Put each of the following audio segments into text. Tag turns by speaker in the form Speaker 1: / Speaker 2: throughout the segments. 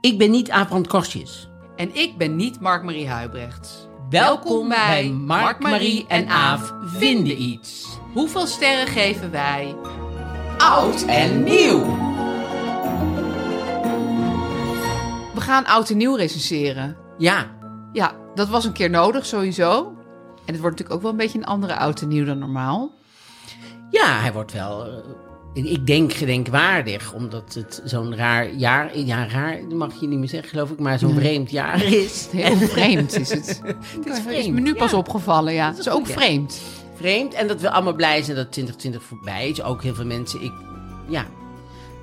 Speaker 1: Ik ben niet Abrand Korsjes.
Speaker 2: En ik ben niet Mark-Marie Huibrechts.
Speaker 1: Welkom bij Mark, Marie en Aaf vinden iets.
Speaker 2: Hoeveel sterren geven wij?
Speaker 1: Oud en nieuw.
Speaker 2: We gaan oud en nieuw recenseren.
Speaker 1: Ja,
Speaker 2: Ja, dat was een keer nodig sowieso. En het wordt natuurlijk ook wel een beetje een andere oud en nieuw dan normaal.
Speaker 1: ja hij wordt wel, eh, ik denk, gedenkwaardig. Omdat het zo'n raar jaar, ja raar mag je niet meer zeggen geloof ik, maar zo'n vreemd jaar is.
Speaker 2: Heel vreemd is het.
Speaker 1: Het is
Speaker 2: is
Speaker 1: vreemd,
Speaker 2: me nu
Speaker 1: ja.
Speaker 2: pas opgevallen, ja. Het is
Speaker 1: een
Speaker 2: ook
Speaker 1: goeie.
Speaker 2: vreemd.
Speaker 1: vreemd. En dat we allemaal blij zijn dat 2020 voorbij is. Ook heel veel mensen, ik, ja. Dus
Speaker 2: maar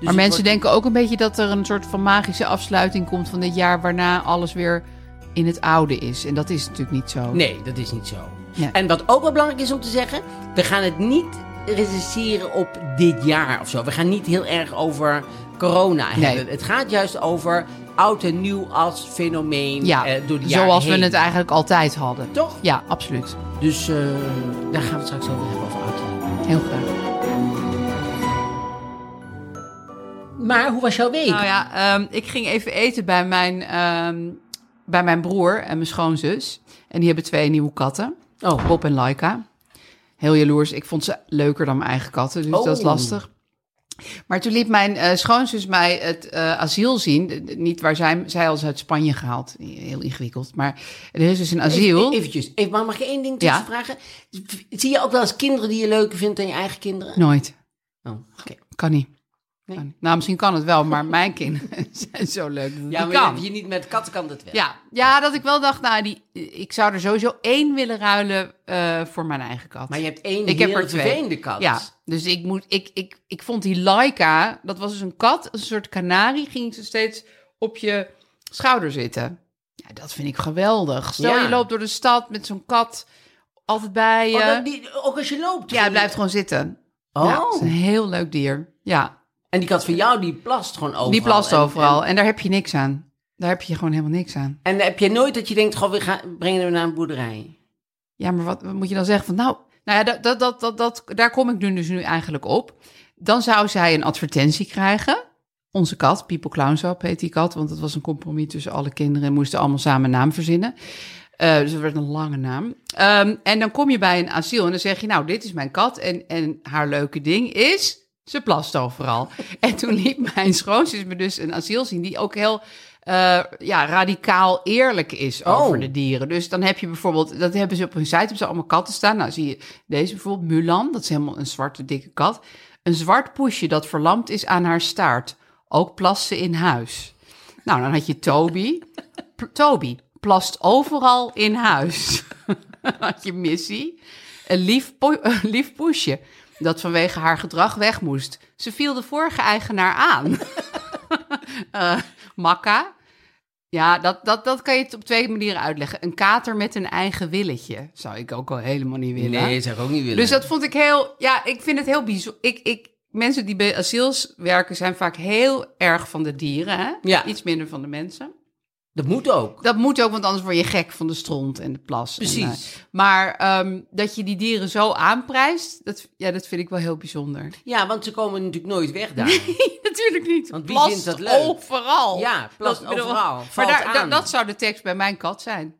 Speaker 1: het
Speaker 2: mensen
Speaker 1: wordt-
Speaker 2: denken ook een beetje dat er een soort van magische afsluiting komt van dit jaar... waarna alles weer in het oude is. En dat is natuurlijk niet zo.
Speaker 1: Nee, dat is niet zo.
Speaker 2: Nee.
Speaker 1: En wat ook wel belangrijk is om te zeggen, we gaan het niet recenseren op dit jaar of zo. We gaan niet heel erg over corona
Speaker 2: Nee.
Speaker 1: hebben. Het gaat juist over oud en nieuw als fenomeen
Speaker 2: Ja,
Speaker 1: eh, door de jaren
Speaker 2: zoals we
Speaker 1: heen.
Speaker 2: het eigenlijk altijd hadden.
Speaker 1: Toch?
Speaker 2: Ja, absoluut.
Speaker 1: Dus eh, daar gaan we het straks over hebben, over oud en nieuw.
Speaker 2: Heel graag.
Speaker 1: Maar hoe was jouw week?
Speaker 2: Nou ja, ehm, ik ging even eten bij mijn, ehm, bij mijn broer en mijn schoonzus. En die hebben twee nieuwe katten.
Speaker 1: Oh.
Speaker 2: Bob en Laika. Heel jaloers. Ik vond ze leuker dan mijn eigen katten, dus
Speaker 1: Oh.
Speaker 2: dat is lastig. Maar toen liet mijn eh, schoonzus mij het eh, asiel zien. De- de- Niet waar zij, zij al is uit Spanje gehaald. Heel ingewikkeld. Maar er is dus een asiel.
Speaker 1: Even, eventjes, even, maar mag ik één ding
Speaker 2: Ja.
Speaker 1: tussen vragen? Zie je ook wel eens kinderen die je leuker vindt dan je eigen kinderen?
Speaker 2: Nooit.
Speaker 1: Oh, oké.
Speaker 2: Kan niet.
Speaker 1: Nee.
Speaker 2: Kan niet. Nou, misschien kan het wel, maar mijn kinderen zijn zo leuk. dat het
Speaker 1: Ja,
Speaker 2: niet
Speaker 1: maar
Speaker 2: kan.
Speaker 1: je, je niet met katten kan dat wel.
Speaker 2: Ja, ja, dat ik wel dacht, nou, die, ik zou er sowieso één willen ruilen eh, voor mijn eigen kat.
Speaker 1: Maar je hebt één
Speaker 2: ik heb
Speaker 1: heel
Speaker 2: er twee.
Speaker 1: vervelende kat. Oh,
Speaker 2: Ja, dus ik, moet, ik, ik, ik vond die Laika, dat was dus een kat, een soort kanarie, ging ze steeds op je schouder zitten. Ja, dat vind ik geweldig. Stel,
Speaker 1: Ja.
Speaker 2: je loopt door de stad met zo'n kat altijd bij je.
Speaker 1: Oh, dat- die- ook als je loopt.
Speaker 2: ja, hij blijft gewoon zitten.
Speaker 1: Oh.
Speaker 2: Ja, het is een heel leuk dier. Ja,
Speaker 1: En die kat van jou, die plast gewoon overal.
Speaker 2: die plast
Speaker 1: En-
Speaker 2: overal en, daar heb je niks aan. Daar heb je gewoon helemaal niks aan.
Speaker 1: En, en heb je nooit dat je denkt, goh, we gaan, brengen hem naar een boerderij?
Speaker 2: Ja, maar wat, wat moet je dan zeggen van nou, nou ja, dat, dat, dat, dat, dat, daar kom ik nu dus nu eigenlijk op. Dan zou zij een advertentie krijgen. Onze kat, People Clownsap heet die kat, want het was een compromis tussen alle kinderen en moesten allemaal samen een naam verzinnen. Eh, dus het werd een lange naam. Ehm, en dan kom je bij een asiel en dan zeg je, nou, dit is mijn kat en, en haar leuke ding is, ze plast overal. en toen liet mijn schoonzus me dus een asiel zien die ook heel eh, ja, radicaal eerlijk is
Speaker 1: Oh.
Speaker 2: over de dieren. Dus dan heb je bijvoorbeeld, dat hebben ze op hun site, hebben ze allemaal katten staan. Nou zie je deze bijvoorbeeld, Mulan, dat is helemaal een zwarte dikke kat. Een zwart poesje dat verlamd is aan haar staart. Ook plast ze in huis. Nou, dan had je Toby. P- Toby plast overal in huis. Dan had je Missy. Een lief, po- een lief poesje dat vanwege haar gedrag weg moest. Ze viel de vorige eigenaar aan. Eh, Makka. Ja, dat, dat, dat kan je het op twee manieren uitleggen. Een kater met een eigen willetje zou ik ook al helemaal niet willen.
Speaker 1: zou ik ook niet willen.
Speaker 2: Dus dat vond ik heel, ja, ik vind het heel bijzonder. Ik, ik, mensen die bij asiels werken zijn vaak heel erg van de dieren, hè?
Speaker 1: Ja.
Speaker 2: iets minder van de mensen.
Speaker 1: dat moet ook.
Speaker 2: Dat moet ook, want anders word je gek van de stront en de plas. en,
Speaker 1: Precies.
Speaker 2: eh, maar ehm, dat je die dieren zo aanprijst, dat, ja, dat vind ik wel heel bijzonder.
Speaker 1: Ja, want ze komen natuurlijk nooit weg daar.
Speaker 2: Natuurlijk niet.
Speaker 1: Want wie
Speaker 2: Plast
Speaker 1: vindt dat leuk?
Speaker 2: overal.
Speaker 1: Ja, plast
Speaker 2: ik bedoel,
Speaker 1: overal.
Speaker 2: Maar
Speaker 1: Valt
Speaker 2: daar, da-
Speaker 1: aan.
Speaker 2: dat zou de tekst bij mijn kat zijn.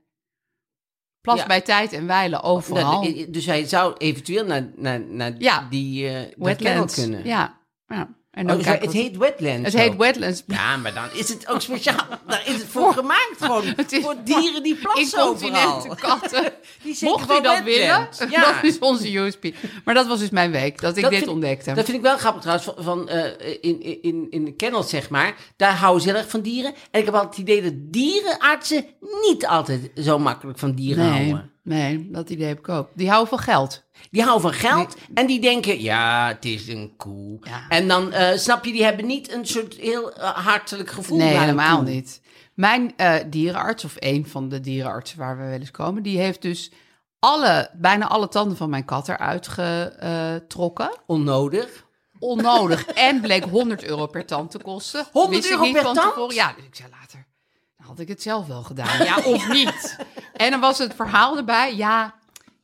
Speaker 2: Plas
Speaker 1: Ja.
Speaker 2: bij tijd en weilen
Speaker 1: Nou,
Speaker 2: overal.
Speaker 1: eh, Dat- dus hij zou eventueel naar, naar, naar
Speaker 2: Ja.
Speaker 1: die eh dat kennel
Speaker 2: Wetlands.
Speaker 1: kunnen.
Speaker 2: Ja. ja. En
Speaker 1: Oh,
Speaker 2: dan
Speaker 1: zo-
Speaker 2: kijken
Speaker 1: het
Speaker 2: wat-
Speaker 1: heet Wetlands.
Speaker 2: Het heet
Speaker 1: ook.
Speaker 2: wetlands.
Speaker 1: Ja, maar dan is het ook speciaal. Daar is het voor gemaakt gewoon. voor dieren die plassen overal.
Speaker 2: Incontinente katten.
Speaker 1: Die zitten
Speaker 2: Mocht u
Speaker 1: wel
Speaker 2: dat
Speaker 1: wet
Speaker 2: willen,
Speaker 1: bent. Ja.
Speaker 2: dat is onze USP. Maar dat was dus mijn week, dat ik dit
Speaker 1: vind-
Speaker 2: ontdekte.
Speaker 1: Dat vind ik wel grappig trouwens. Van, van, eh, in, in- in, in de kennels, zeg maar. Daar houden ze heel erg van dieren. En ik heb altijd het idee dat dierenartsen niet altijd zo makkelijk van dieren
Speaker 2: nee,
Speaker 1: houden.
Speaker 2: nee, dat idee heb ik ook. Die houden van geld.
Speaker 1: Die houden van geld en die denken, ja, het is een koe.
Speaker 2: Ja.
Speaker 1: En dan, eh, snap je, die hebben niet een soort heel eh, hartelijk gevoel.
Speaker 2: Nee,
Speaker 1: bij een
Speaker 2: helemaal
Speaker 1: koe.
Speaker 2: niet. Mijn eh, dierenarts, of een van de dierenartsen waar we wel eens komen, die heeft dus alle, bijna alle tanden van mijn kat eruit getrokken.
Speaker 1: Onnodig.
Speaker 2: Onnodig. en bleek 100 euro per tand te kosten.
Speaker 1: 100
Speaker 2: Wist ik
Speaker 1: euro
Speaker 2: niet
Speaker 1: per
Speaker 2: van
Speaker 1: tand?
Speaker 2: tevoren. Ja, dus ik zei later, dan had ik het zelf wel gedaan. Ja, of niet? En dan was het verhaal erbij, ja,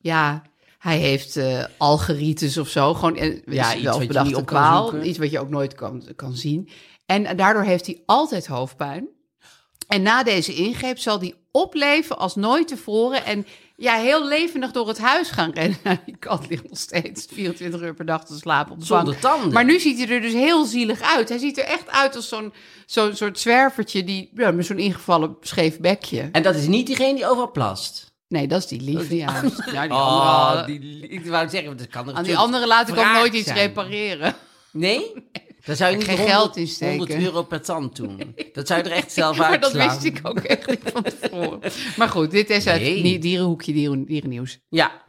Speaker 2: ja. Hij heeft eh algeritis of zo. Gewoon eh,
Speaker 1: Ja,
Speaker 2: is
Speaker 1: iets
Speaker 2: wel
Speaker 1: wat je
Speaker 2: bedachte
Speaker 1: niet op kan
Speaker 2: kwaal.
Speaker 1: zoeken.
Speaker 2: Iets wat je ook nooit kan, kan zien. En daardoor heeft hij altijd hoofdpijn. En na deze ingreep zal die opleven als nooit tevoren. En ja, heel levendig door het huis gaan rennen. Die kat ligt nog steeds 24 uur per dag te slapen op de
Speaker 1: Zonder
Speaker 2: bank.
Speaker 1: tanden.
Speaker 2: Maar nu ziet hij er dus heel zielig uit. Hij ziet er echt uit als zo'n zo'n soort zwervertje die, ja, met zo'n ingevallen scheef bekje.
Speaker 1: En dat is niet diegene die overal plast.
Speaker 2: Nee, dat is die lieve, ja. Ja, die
Speaker 1: Oh,
Speaker 2: andere,
Speaker 1: die, ik wou zeggen, dat kan er
Speaker 2: aan die
Speaker 1: natuurlijk
Speaker 2: andere laat ik ook
Speaker 1: wraak
Speaker 2: nooit iets
Speaker 1: zijn.
Speaker 2: repareren.
Speaker 1: Nee? Daar zou je niet
Speaker 2: Geen
Speaker 1: 100,
Speaker 2: geld in steken.
Speaker 1: 100 euro per tand doen. Dat zou je er echt zelf
Speaker 2: maar
Speaker 1: uitslaan.
Speaker 2: dat wist ik ook echt niet van tevoren. Maar goed, dit is het
Speaker 1: Nee.
Speaker 2: nie- dierenhoekje dieren, dierennieuws.
Speaker 1: Ja.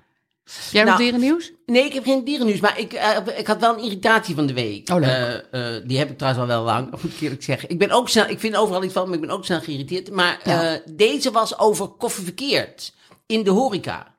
Speaker 2: Jij nog
Speaker 1: Nou,
Speaker 2: dierennieuws?
Speaker 1: Nee, ik heb geen dierennieuws, maar ik, eh, ik had wel een irritatie van de week.
Speaker 2: Oh, leuk.
Speaker 1: Eh, eh, die heb ik trouwens al wel lang, moet ik eerlijk zeggen. Ik ben ook snel, ik vind overal iets van, maar ik ben ook snel geïrriteerd. Maar
Speaker 2: Ja.
Speaker 1: eh, deze was over koffie verkeerd in de horeca.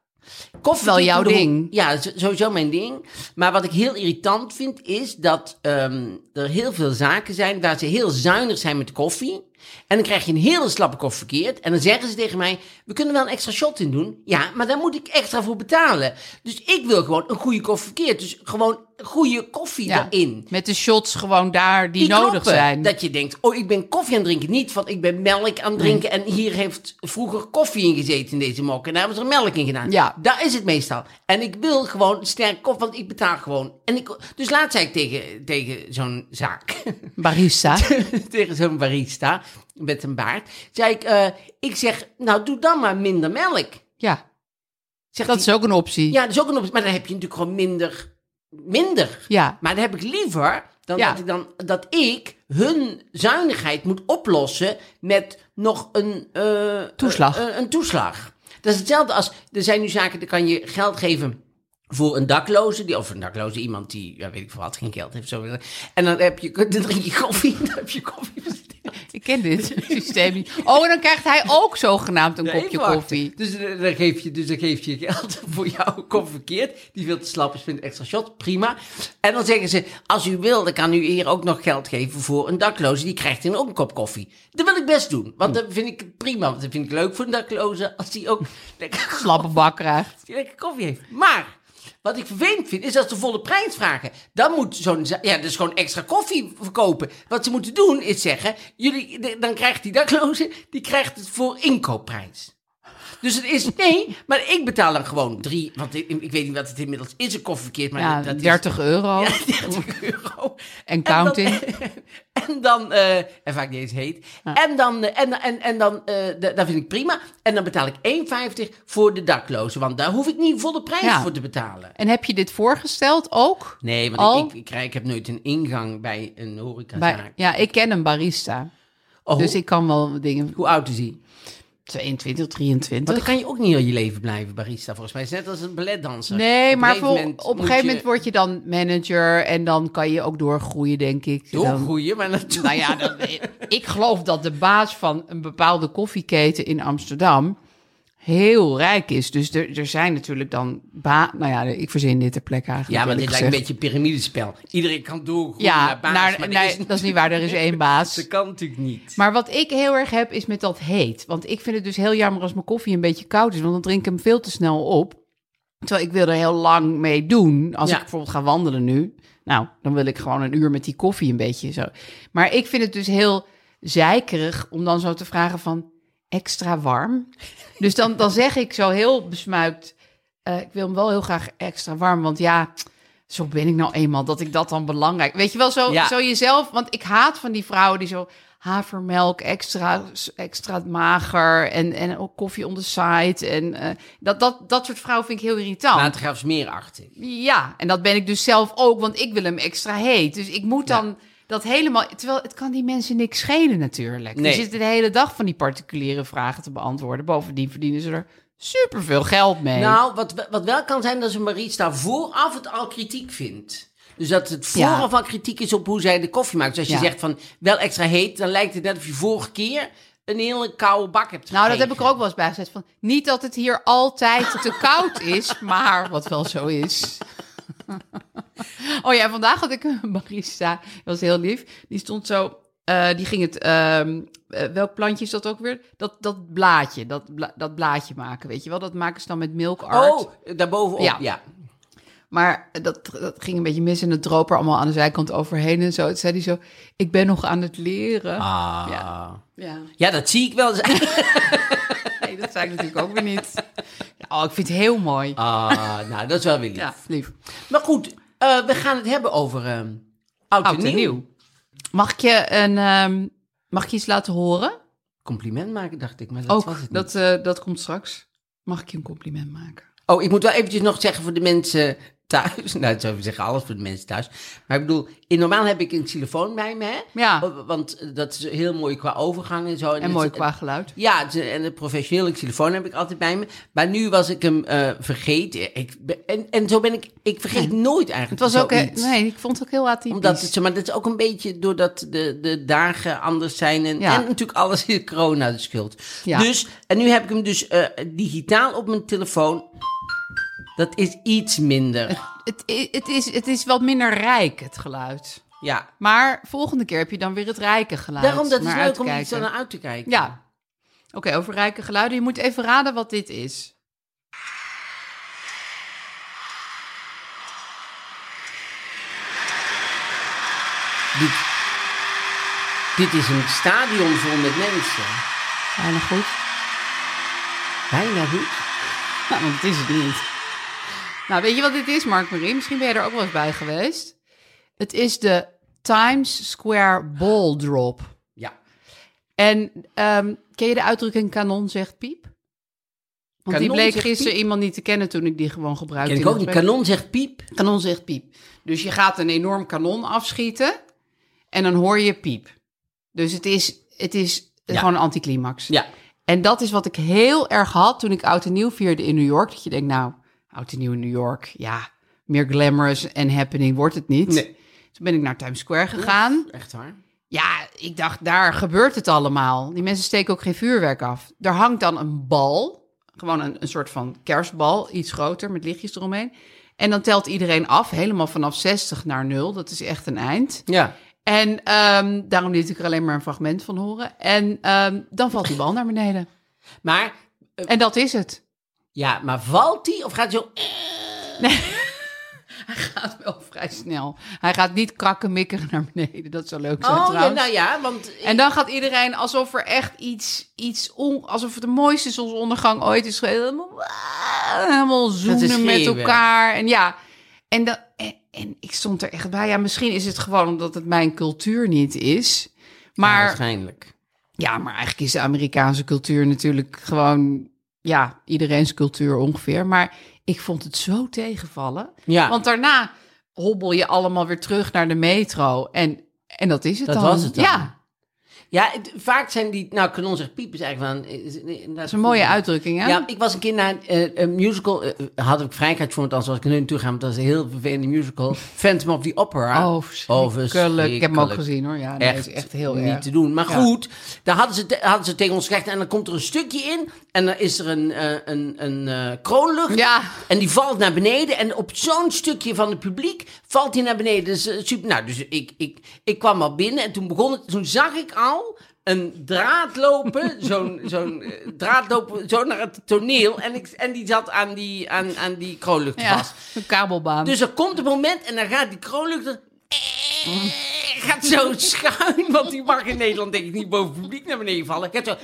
Speaker 1: Koffie
Speaker 2: Wel
Speaker 1: verkeerd
Speaker 2: jouw
Speaker 1: in de ho-
Speaker 2: ding.
Speaker 1: Ja, dat is sowieso mijn ding. Maar wat ik heel irritant vind, is dat ehm, er heel veel zaken zijn waar ze heel zuinig zijn met koffie. En dan krijg je een hele slappe koffie verkeerd. En dan zeggen ze tegen mij, we kunnen wel een extra shot in doen. Ja, maar daar moet ik extra voor betalen. Dus ik wil gewoon een goede koffie verkeerd. Dus gewoon goede koffie erin.
Speaker 2: Met de shots gewoon daar die,
Speaker 1: Die
Speaker 2: nodig
Speaker 1: knoppen,
Speaker 2: zijn.
Speaker 1: Dat je denkt, oh, ik ben koffie aan het drinken. Niet van, ik ben melk aan het drinken. En hier heeft vroeger koffie in gezeten in deze mok. En daar hebben ze er melk in gedaan.
Speaker 2: Ja.
Speaker 1: Daar is het meestal. En ik wil gewoon sterk koffie, want ik betaal gewoon. En ik, dus laatst zei ik tegen, tegen zo'n zaak,
Speaker 2: Barista.
Speaker 1: tegen zo'n barista met een baard. Zei ik, eh, ik zeg, nou doe dan maar minder melk.
Speaker 2: Ja,
Speaker 1: Zegt
Speaker 2: dat
Speaker 1: die-
Speaker 2: is ook een optie.
Speaker 1: Ja, dat is ook een optie. Maar dan heb je natuurlijk gewoon minder. Minder.
Speaker 2: Ja.
Speaker 1: Maar dan heb ik liever dan,
Speaker 2: Ja.
Speaker 1: dat, ik dan dat ik hun zuinigheid moet oplossen met nog een eh,
Speaker 2: Toeslag.
Speaker 1: eh, eh, een toeslag. Dat is hetzelfde als er zijn nu zaken, dan kan je geld geven voor een dakloze, die, of een dakloze, iemand die, ja, weet ik veel wat, geen geld heeft. Zo. En dan, heb je, dan drink je koffie, dan heb je koffie.
Speaker 2: Ik ken dit systeem niet. Oh, en dan krijgt hij ook zogenaamd een
Speaker 1: Ja,
Speaker 2: kopje
Speaker 1: even wachten.
Speaker 2: koffie.
Speaker 1: Dus eh, dan geef je, dus dan geef je geld voor jouw kop verkeerd. Die veel te slap is, vindt een extra shot. Prima. En dan zeggen ze, als u wil, dan kan u hier ook nog geld geven voor een dakloze. Die krijgt dan ook een kop koffie. Dat wil ik best doen. Want
Speaker 2: Hm.
Speaker 1: dat vind ik prima. Want dat vind ik leuk voor een dakloze. Als die ook lekker,
Speaker 2: Slappe bak krijgt.
Speaker 1: die lekker koffie heeft. Maar... Wat ik vervelend vind, is dat ze volle prijs vragen. Dan moet zo'n... za- Ja, dus gewoon extra koffie verkopen. Wat ze moeten doen, is zeggen... Jullie, de- dan krijgt die dakloze... Die krijgt het voor inkoopprijs. Dus het is, nee, maar ik betaal dan gewoon drie, want ik, ik weet niet wat het inmiddels is, een koffie verkeerd, maar
Speaker 2: Ja,
Speaker 1: dat is
Speaker 2: 30 euro
Speaker 1: 30 euro.
Speaker 2: Oh. en counting.
Speaker 1: En dan, eh, en vaak niet eens heet. En dan, eh, en, en, en dan, eh da- dat vind ik prima. En dan betaal ik 1,50 voor de daklozen, want daar hoef ik niet volle prijs
Speaker 2: Ja.
Speaker 1: voor te betalen.
Speaker 2: En heb je dit voorgesteld ook?
Speaker 1: Nee, want
Speaker 2: Al?
Speaker 1: ik, ik, ik, krijg- ik heb nooit een ingang bij een horecazaak.
Speaker 2: Bij, ja, ik ken een barista.
Speaker 1: oh,
Speaker 2: Dus ik kan wel dingen...
Speaker 1: Hoe oud is hij?
Speaker 2: 22,
Speaker 1: Want
Speaker 2: 23.
Speaker 1: dan kan je ook niet heel je leven blijven barista, volgens mij. Het is net als een balletdanser.
Speaker 2: Nee,
Speaker 1: een
Speaker 2: maar
Speaker 1: gegeven
Speaker 2: voor-
Speaker 1: moment
Speaker 2: op een
Speaker 1: moet
Speaker 2: gegeven
Speaker 1: je
Speaker 2: moment word je dan manager en dan kan je ook doorgroeien, denk ik. Dan-
Speaker 1: Doorgroeien, maar natuurlijk...
Speaker 2: Nou ja, dan, ik geloof dat de baas van een bepaalde koffieketen in Amsterdam heel rijk is. Dus er, er zijn natuurlijk dan... Ba nou ja, ik verzin dit ter plekke eigenlijk.
Speaker 1: Ja, maar dit
Speaker 2: eerlijk
Speaker 1: lijkt een
Speaker 2: gezegd.
Speaker 1: beetje een piramidespel. Iedereen kan doorgroeien
Speaker 2: Ja,
Speaker 1: naar baas,
Speaker 2: naar-
Speaker 1: maar
Speaker 2: nee,
Speaker 1: dat, is,
Speaker 2: dat is niet waar. Er is één baas.
Speaker 1: dat kan natuurlijk niet.
Speaker 2: Maar wat ik heel erg heb, is met dat heet. Want ik vind het dus heel jammer als mijn koffie een beetje koud is. Want dan drink ik hem veel te snel op. Terwijl ik wil er heel lang mee doen. Als
Speaker 1: Ja.
Speaker 2: ik bijvoorbeeld ga wandelen nu. Nou, dan wil ik gewoon een uur met die koffie een beetje zo. Maar ik vind het dus heel zeikerig om dan zo te vragen van... extra warm? Dus dan, dan zeg ik zo heel besmuikt... eh, ik wil hem wel heel graag extra warm, want ja... Zo ben ik nou eenmaal dat ik dat dan belangrijk. Weet je wel, zo,
Speaker 1: Ja.
Speaker 2: zo jezelf. Want ik haat van die vrouwen die zo havermelk, extra, extra mager en, en ook koffie on the side. En eh, dat, dat, dat soort vrouwen vind ik heel irritant.
Speaker 1: Nou, Watergraafsmeerachtig.
Speaker 2: Ja, en dat ben ik dus zelf ook, want ik wil hem extra heet. Dus ik moet dan dat helemaal. Terwijl het kan die mensen niks schelen natuurlijk.
Speaker 1: Nee.
Speaker 2: Die zitten de hele dag van die particuliere vragen te beantwoorden. Bovendien verdienen ze er superveel geld mee.
Speaker 1: Nou, wat, wat wel kan zijn dat ze Maries daar vooraf het al kritiek vindt. Dus dat het
Speaker 2: Ja.
Speaker 1: vooraf al kritiek is op hoe zij de koffie maakt. Dus als je
Speaker 2: Ja.
Speaker 1: zegt van wel extra heet, dan lijkt het net of je vorige keer een hele koude bak hebt
Speaker 2: Nou, dat heb ik
Speaker 1: gekregen.
Speaker 2: er ook wel eens bij gezet. Van, niet dat het hier altijd te koud is, maar wat wel zo is. oh ja, vandaag had ik een barista. Dat was heel lief. Die stond zo... eh, die ging het... ehm, eh, welk plantje is dat ook weer? Dat, dat blaadje. Dat, bla- dat blaadje maken, weet je wel? Dat maken ze dan met milk art.
Speaker 1: Oh, daarbovenop, ja.
Speaker 2: Ja.
Speaker 1: ja.
Speaker 2: Maar dat, dat ging een beetje mis en het droop er allemaal aan de zijkant overheen en zo. Toen zei hij zo, ik ben nog aan het leren.
Speaker 1: Ah.
Speaker 2: Ja. ja.
Speaker 1: Ja, dat zie ik wel.
Speaker 2: Nee, dat zei ik natuurlijk ook weer niet. Oh, ik vind het heel mooi.
Speaker 1: Ah, nou, dat is wel weer lief.
Speaker 2: Ja, lief.
Speaker 1: Maar goed, eh, we gaan het hebben over eh, oud, en
Speaker 2: Oud en
Speaker 1: nieuw.
Speaker 2: nieuw. Mag ik je, een, ehm, mag ik je iets laten horen?
Speaker 1: Compliment maken, dacht ik, maar dat was het
Speaker 2: ook,
Speaker 1: niet.
Speaker 2: dat, eh, dat komt straks. Mag ik je een compliment maken?
Speaker 1: Oh, ik moet wel eventjes nog zeggen voor de mensen thuis. Nou, ik zou even zeggen alles voor de mensen thuis. Maar ik bedoel, in normaal heb ik een telefoon bij me, hè?
Speaker 2: Ja.
Speaker 1: Want dat is heel mooi qua overgang en zo.
Speaker 2: En
Speaker 1: het-
Speaker 2: mooi qua geluid.
Speaker 1: Ja, het is- en een professionele telefoon heb ik altijd bij me. Maar nu was ik hem eh, vergeten. Ik, ben- en, en zo ben ik... Ik vergeet nooit
Speaker 2: Het
Speaker 1: eigenlijk
Speaker 2: was ook, eh,
Speaker 1: zoiets.
Speaker 2: nee, ik vond het ook heel atypisch.
Speaker 1: Omdat het, maar dat is ook een beetje doordat de, de dagen anders zijn. En,
Speaker 2: Ja.
Speaker 1: en natuurlijk alles is corona de schuld.
Speaker 2: Ja.
Speaker 1: Dus, en nu heb ik hem dus eh, digitaal op mijn telefoon. Dat is iets minder.
Speaker 2: het, i- het, is, het is wat minder rijk, het geluid.
Speaker 1: Ja.
Speaker 2: Maar volgende keer heb je dan weer het rijke geluid.
Speaker 1: Daarom dat is
Speaker 2: Maar
Speaker 1: leuk om
Speaker 2: uitkijken.
Speaker 1: iets naar uit te kijken.
Speaker 2: Ja. Oké, over rijke geluiden. Je moet even raden wat dit is.
Speaker 1: Dit, dit is een stadion vol met mensen.
Speaker 2: Bijna goed.
Speaker 1: Bijna goed.
Speaker 2: Nou, want het is het niet. Nou, weet je wat dit is, Mark Marie? Misschien ben je er ook wel eens bij geweest. Het is de Times Square Ball Drop.
Speaker 1: Ja.
Speaker 2: En ehm, ken je de uitdrukking kanon zegt piep? Want
Speaker 1: Kanon
Speaker 2: die bleek
Speaker 1: zegt
Speaker 2: gisteren
Speaker 1: piep?
Speaker 2: iemand niet te kennen toen ik die gewoon gebruikte.
Speaker 1: Ken ik
Speaker 2: in
Speaker 1: ook
Speaker 2: het
Speaker 1: niet.
Speaker 2: gesprek.
Speaker 1: Kanon zegt piep.
Speaker 2: Kanon zegt piep. Dus je gaat een enorm kanon afschieten en dan hoor je piep. Dus het is, het is gewoon een anticlimax.
Speaker 1: Ja.
Speaker 2: En dat is wat ik heel erg had toen ik Oud en Nieuw vierde in New York. Dat je denkt, nou, Oud en Nieuw in New York, ja, meer glamorous en happening wordt het niet.
Speaker 1: Nee.
Speaker 2: Toen ben ik naar Times Square gegaan.
Speaker 1: Echt waar.
Speaker 2: Ja, ik dacht, daar gebeurt het allemaal. Die mensen steken ook geen vuurwerk af. Er hangt dan een bal, gewoon een, een soort van kerstbal, iets groter met lichtjes eromheen. En dan telt iedereen af, helemaal vanaf 60 naar 0. Dat is echt een eind.
Speaker 1: Ja.
Speaker 2: En ehm, daarom liet ik er alleen maar een fragment van horen. En ehm, dan valt die bal naar beneden.
Speaker 1: Maar, eh,
Speaker 2: En dat is het.
Speaker 1: ja, maar valt die of gaat hij zo...
Speaker 2: Gaat
Speaker 1: Oh,
Speaker 2: wel vrij snel. Hij gaat niet krakkemikkig naar beneden. Dat zou leuk zijn
Speaker 1: Oh, ja,
Speaker 2: trouwens.
Speaker 1: nou ja, want...
Speaker 2: En dan gaat iedereen alsof er echt iets, iets on, alsof het de mooiste zonsondergang ooit is geweest. Helemaal, ah, helemaal zoenen met
Speaker 1: schreeuwen.
Speaker 2: elkaar. En ja, en, dan, en, en ik stond er echt bij. Ja, misschien is het gewoon omdat het mijn cultuur niet is.
Speaker 1: Ja,
Speaker 2: Maar
Speaker 1: waarschijnlijk.
Speaker 2: ja, maar eigenlijk is de Amerikaanse cultuur natuurlijk gewoon, ja, iedereen's cultuur ongeveer. Maar ik vond het zo tegenvallen.
Speaker 1: Ja.
Speaker 2: Want daarna hobbel je allemaal weer terug naar de metro. En, en dat is het
Speaker 1: Dat
Speaker 2: dan.
Speaker 1: was het dan.
Speaker 2: Ja,
Speaker 1: Ja, het- vaak zijn die... Nou, kanon zegt piep is eigenlijk wel een... Dat
Speaker 2: dat is een mooie uitdrukking, hè?
Speaker 1: Ja, ik was een keer naar eh, een musical... eh, had ik vrijheid voor, anders was ik er nu naartoe gaan... want dat is een heel vervelende musical. Phantom of the Opera.
Speaker 2: Oh, verschrikkelijk. Ik heb hem ook gezien hoor. Ja, nee,
Speaker 1: Echt,
Speaker 2: het is echt heel
Speaker 1: niet
Speaker 2: erg.
Speaker 1: te doen. Maar
Speaker 2: Ja.
Speaker 1: goed, daar hadden ze, te- hadden ze tegen ons gezegd... en dan komt er een stukje in... en dan is er een, eh, een, een eh, kroonlucht...
Speaker 2: Ja.
Speaker 1: en die valt naar beneden... en op zo'n stukje van het publiek valt hij naar beneden. Dus, eh, super, nou, dus ik, ik, ik kwam al binnen en toen begon het... toen zag ik al een draad lopen... zo'n zo'n eh, draad lopen zo naar het toneel... en, ik, en die zat aan die, aan, aan die kroonlucht
Speaker 2: Ja,
Speaker 1: vast.
Speaker 2: een kabelbaan.
Speaker 1: Dus er komt een moment en dan gaat die kroonluchter... eh, Gaat zo schuin, want die mag in Nederland denk ik niet eh, boven het publiek naar beneden vallen. Gaat zo...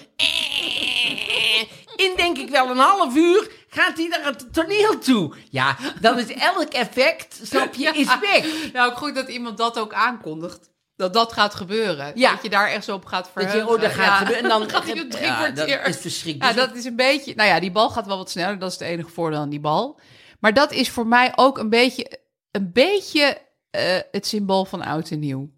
Speaker 1: In denk ik wel een half uur gaat hij naar het toneel toe. Ja, dan is elk effect, snap je, is weg.
Speaker 2: Nou, ook goed dat iemand dat ook aankondigt. Dat dat gaat gebeuren.
Speaker 1: Ja.
Speaker 2: Dat je daar echt zo op gaat
Speaker 1: je,
Speaker 2: verheugen.
Speaker 1: oh, dat gaat
Speaker 2: Ja.
Speaker 1: gebeuren. En dan-
Speaker 2: gaat hij op drie
Speaker 1: Ja, dat
Speaker 2: kwartier.
Speaker 1: is verschrikkelijk.
Speaker 2: Ja, dat is een beetje... Nou ja, die bal gaat wel wat sneller. Dat is het enige voordeel aan die bal. Maar dat is voor mij ook een beetje... Een beetje eh, het symbool van oud en nieuw.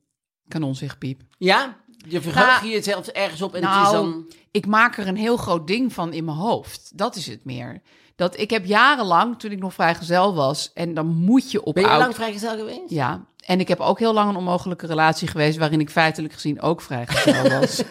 Speaker 2: Kanon zegt Piep.
Speaker 1: Ja, je verheugt
Speaker 2: Nou,
Speaker 1: je jezelf ergens op en het is
Speaker 2: nou,
Speaker 1: dan...
Speaker 2: ik maak er een heel groot ding van in mijn hoofd. Dat is het meer. Dat ik heb jarenlang, toen ik nog vrijgezel was... En dan moet je op
Speaker 1: Ben je
Speaker 2: oud...
Speaker 1: lang vrijgezel geweest?
Speaker 2: Ja, en ik heb ook heel lang een onmogelijke relatie geweest... waarin ik feitelijk gezien ook vrijgezel was.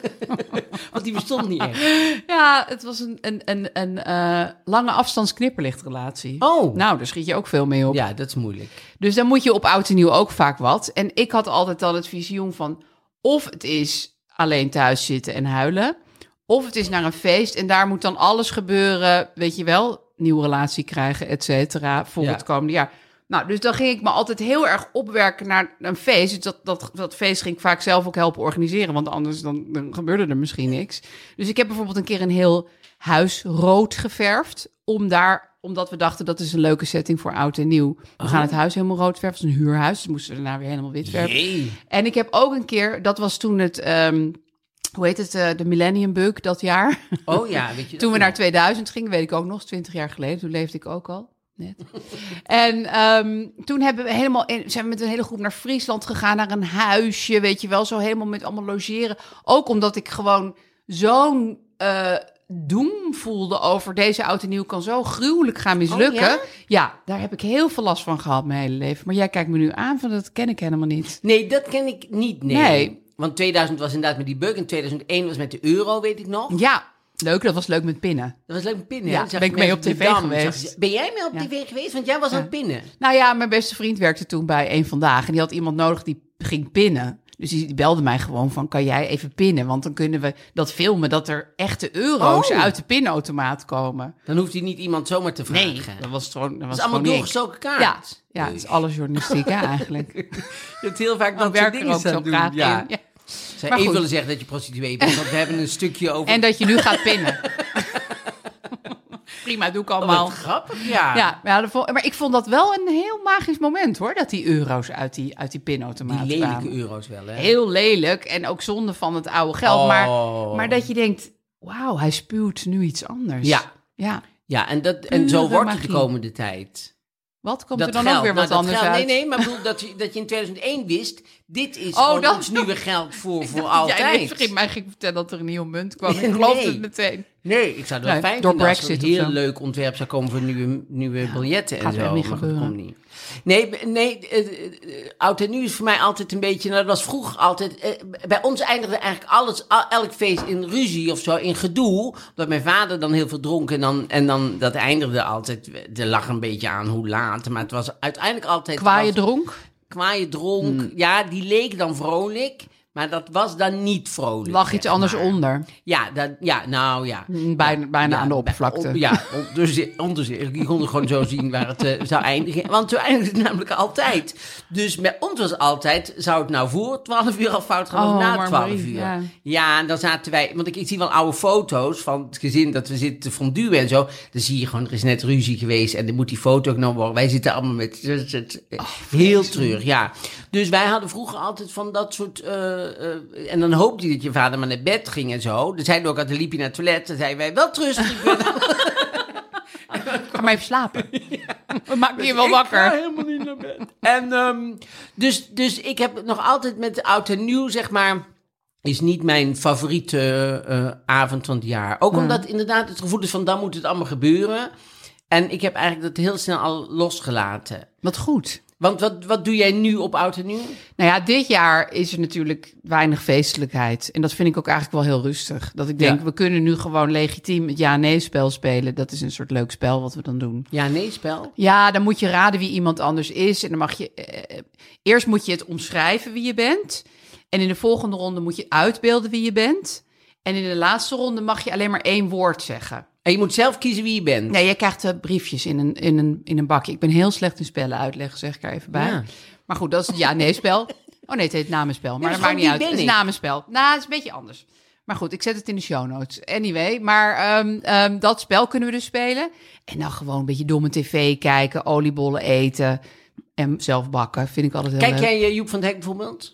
Speaker 1: Want die bestond niet echt.
Speaker 2: ja, het was een, een, een, een eh, lange afstandsknipperlichtrelatie.
Speaker 1: Oh.
Speaker 2: Nou, daar schiet je ook veel mee op.
Speaker 1: Ja, dat is moeilijk.
Speaker 2: Dus dan moet je op oud en nieuw ook vaak wat. En ik had altijd al het visioen van... of het is alleen thuis zitten en huilen... of het is naar een feest en daar moet dan alles gebeuren... weet je wel, nieuwe relatie krijgen, et cetera, voor
Speaker 1: Ja.
Speaker 2: het komende jaar. Nou, dus dan ging ik me altijd heel erg opwerken naar een feest. Dus dat, dat, dat feest ging ik vaak zelf ook helpen organiseren... want anders dan, dan gebeurde er misschien niks. Dus ik heb bijvoorbeeld een keer een heel huis rood geverfd... om daar omdat we dachten dat is een leuke setting voor oud en nieuw. We gaan het huis helemaal rood verven. Het is een huurhuis, dus moesten we daarna weer helemaal wit verven.
Speaker 1: Jee.
Speaker 2: En ik heb ook een keer, dat was toen het, ehm, hoe heet het, eh, de Millennium Bug dat jaar.
Speaker 1: Oh ja, weet je
Speaker 2: toen we
Speaker 1: dat?
Speaker 2: naar 2000 gingen, weet ik ook nog, 20 jaar geleden. Toen leefde ik ook al. Net. En ehm, toen hebben we helemaal in, zijn we met een hele groep naar Friesland gegaan, naar een huisje, weet je wel, zo helemaal met allemaal logeren. Ook omdat ik gewoon zo'n eh doem voelde over deze oud en nieuw kan zo gruwelijk gaan mislukken.
Speaker 1: Oh, ja?
Speaker 2: Ja, daar heb ik heel veel last van gehad mijn hele leven. Maar jij kijkt me nu aan van dat ken ik helemaal niet.
Speaker 1: Nee, dat ken ik niet, nee.
Speaker 2: Nee.
Speaker 1: Want 2000 was inderdaad met die bug en 2001 was met de euro, weet ik nog.
Speaker 2: Ja, leuk. Dat was leuk met pinnen.
Speaker 1: Dat was leuk met pinnen.
Speaker 2: Ja,
Speaker 1: Dan zag
Speaker 2: ben
Speaker 1: je
Speaker 2: ik mee
Speaker 1: mensen
Speaker 2: op
Speaker 1: de
Speaker 2: tv
Speaker 1: Dam.
Speaker 2: geweest.
Speaker 1: Zag je- Ben jij mee op
Speaker 2: Ja.
Speaker 1: tv geweest? Want jij was aan het pinnen.
Speaker 2: Nou ja, mijn beste vriend werkte toen bij een vandaag en die had iemand nodig die ging pinnen. Dus die die belde mij gewoon van, kan jij even pinnen? Want dan kunnen we dat filmen dat er echte euro's
Speaker 1: Oh.
Speaker 2: uit de pinautomaat komen.
Speaker 1: Dan hoeft hij niet iemand zomaar te vragen.
Speaker 2: dat was gewoon, dat
Speaker 1: dat
Speaker 2: was
Speaker 1: is allemaal
Speaker 2: gewoon ik.
Speaker 1: doorgestoken kaart.
Speaker 2: Ja, ja, het is alles journalistiek hè, eigenlijk.
Speaker 1: Je hebt heel vaak
Speaker 2: Dan
Speaker 1: dat soort
Speaker 2: werk er
Speaker 1: dingen
Speaker 2: ook zo
Speaker 1: staan doen.
Speaker 2: graag
Speaker 1: ja.
Speaker 2: in. Ja.
Speaker 1: Zou
Speaker 2: Maar
Speaker 1: even
Speaker 2: goed.
Speaker 1: willen zeggen dat je prostituee bent, want we hebben een stukje over...
Speaker 2: En dat je nu gaat pinnen. Prima, doe ik allemaal.
Speaker 1: Oh, Wat grappig, ja.
Speaker 2: Ja, maar, ja, dat vond- maar ik vond dat wel een heel magisch moment hoor. Dat die euro's uit die, uit die
Speaker 1: Die
Speaker 2: pinautomaat
Speaker 1: lelijke
Speaker 2: kwamen.
Speaker 1: euro's wel, hè?
Speaker 2: Heel lelijk en ook zonde van het oude geld. Maar,
Speaker 1: Oh.
Speaker 2: maar dat je denkt, wauw, hij spuwt nu iets anders.
Speaker 1: Ja.
Speaker 2: ja.
Speaker 1: Ja, en, dat, en zo
Speaker 2: Pure
Speaker 1: wordt het de
Speaker 2: magie.
Speaker 1: komende tijd.
Speaker 2: Wat komt
Speaker 1: dat
Speaker 2: er dan
Speaker 1: geld,
Speaker 2: ook weer
Speaker 1: nou,
Speaker 2: wat
Speaker 1: dat
Speaker 2: anders
Speaker 1: geld-
Speaker 2: uit?
Speaker 1: Nee, nee, maar ik bedoel dat je, dat je in 2001 wist... dit is
Speaker 2: Oh,
Speaker 1: gewoon
Speaker 2: dat-
Speaker 1: ons nieuwe geld voor, voor
Speaker 2: Ja,
Speaker 1: altijd.
Speaker 2: nee, vergeet mij ging vertellen dat er een nieuwe munt kwam.
Speaker 1: Nee.
Speaker 2: Ik geloofde het meteen.
Speaker 1: Nee, ik zou het wel
Speaker 2: Nee,
Speaker 1: fijn
Speaker 2: door
Speaker 1: vinden als er een
Speaker 2: Brexit of
Speaker 1: heel
Speaker 2: zo.
Speaker 1: leuk ontwerp zou komen voor nieuwe, nieuwe biljetten en
Speaker 2: gaat
Speaker 1: zo.
Speaker 2: echt niet
Speaker 1: maar dat
Speaker 2: gebeuren.
Speaker 1: komt niet. Nee, b- nee eh, eh, eh, oud en nieuw is voor mij altijd een beetje... Nou, dat was vroeger altijd... eh, bij ons eindigde eigenlijk alles, al- elk feest in ruzie of zo, in gedoe. Omdat mijn vader dan heel veel dronk en dan, en dan dat eindigde altijd... Er lag een beetje aan hoe laat, maar het was uiteindelijk altijd...
Speaker 2: Kwaaie
Speaker 1: was-
Speaker 2: dronk, Hmm.
Speaker 1: kwaaie dronk. Ja, die leek dan vrolijk, maar dat was dan niet vrolijk.
Speaker 2: lag iets
Speaker 1: zeg
Speaker 2: anders
Speaker 1: maar.
Speaker 2: onder.
Speaker 1: Ja, dat, ja, nou ja.
Speaker 2: Bijna, bijna
Speaker 1: Ja,
Speaker 2: aan de
Speaker 1: bij-
Speaker 2: oppervlakte.
Speaker 1: op- ja, on- dus, onder zich. Je kon het gewoon zo zien waar het eh, zou eindigen. Want zo eindigt het namelijk altijd. Dus bij ons was altijd, zou het nou voor 12 uur al fout gaan
Speaker 2: Oh,
Speaker 1: of na
Speaker 2: maar
Speaker 1: 12
Speaker 2: Marie,
Speaker 1: uur?
Speaker 2: ja.
Speaker 1: Ja, en dan zaten wij, want ik, ik zie wel oude foto's van het gezin dat we zitten te fondue en zo. Dan zie je gewoon, er is net ruzie geweest en dan moet die foto genomen worden. Wij zitten allemaal met, het- het- eh,
Speaker 2: Oh,
Speaker 1: heel treurig, ja. Dus wij hadden vroeger altijd van dat soort, eh, eh, en dan hoopte je dat je vader maar naar bed ging en zo. Dan zeiden we ook altijd, liep je naar het toilet, dan zeiden wij, wel trustig, ik ben
Speaker 2: Ga maar even slapen. We maken je wel wakker.
Speaker 1: Ik ga helemaal niet naar bed. En, ehm, dus, dus ik heb nog altijd met oud en nieuw, zeg maar, is niet mijn favoriete eh, avond van het jaar. Ook omdat inderdaad het gevoel is van, dan moet het allemaal gebeuren. En ik heb eigenlijk dat heel snel al losgelaten.
Speaker 2: Wat goed.
Speaker 1: Want wat, wat doe jij nu op oud en nieuw?
Speaker 2: Nou ja, dit jaar is er natuurlijk weinig feestelijkheid. En dat vind ik ook eigenlijk wel heel rustig. Dat ik denk,
Speaker 1: Ja.
Speaker 2: we kunnen nu gewoon legitiem het ja-nee-spel spelen. Dat is een soort leuk spel wat we dan doen.
Speaker 1: Ja, nee, spel.
Speaker 2: Ja, dan moet je raden wie iemand anders is. En dan mag je. eh, eh, eerst moet je het omschrijven wie je bent. En in de volgende ronde moet je uitbeelden wie je bent. En in de laatste ronde mag je alleen maar één woord zeggen.
Speaker 1: En je moet zelf kiezen wie je bent.
Speaker 2: Nee, jij krijgt eh, briefjes in een, in, een, in een bakje. Ik ben heel slecht in spellen uitleggen, zeg ik er even bij.
Speaker 1: Ja.
Speaker 2: Maar goed, dat is het ja-nee-spel. Oh nee, het heet namenspel, maar
Speaker 1: Ja,
Speaker 2: dat maakt niet
Speaker 1: gewoon wie
Speaker 2: uit. Het is
Speaker 1: ben ik?
Speaker 2: namenspel. Nou, het is een beetje anders. Maar goed, ik zet het in de show notes. Anyway, maar ehm, ehm, dat spel kunnen we dus spelen. En dan gewoon een beetje domme tv kijken, oliebollen eten en zelf bakken. Vind ik altijd heel
Speaker 1: Kijk
Speaker 2: leuk.
Speaker 1: jij eh, Joep van het Hek bijvoorbeeld?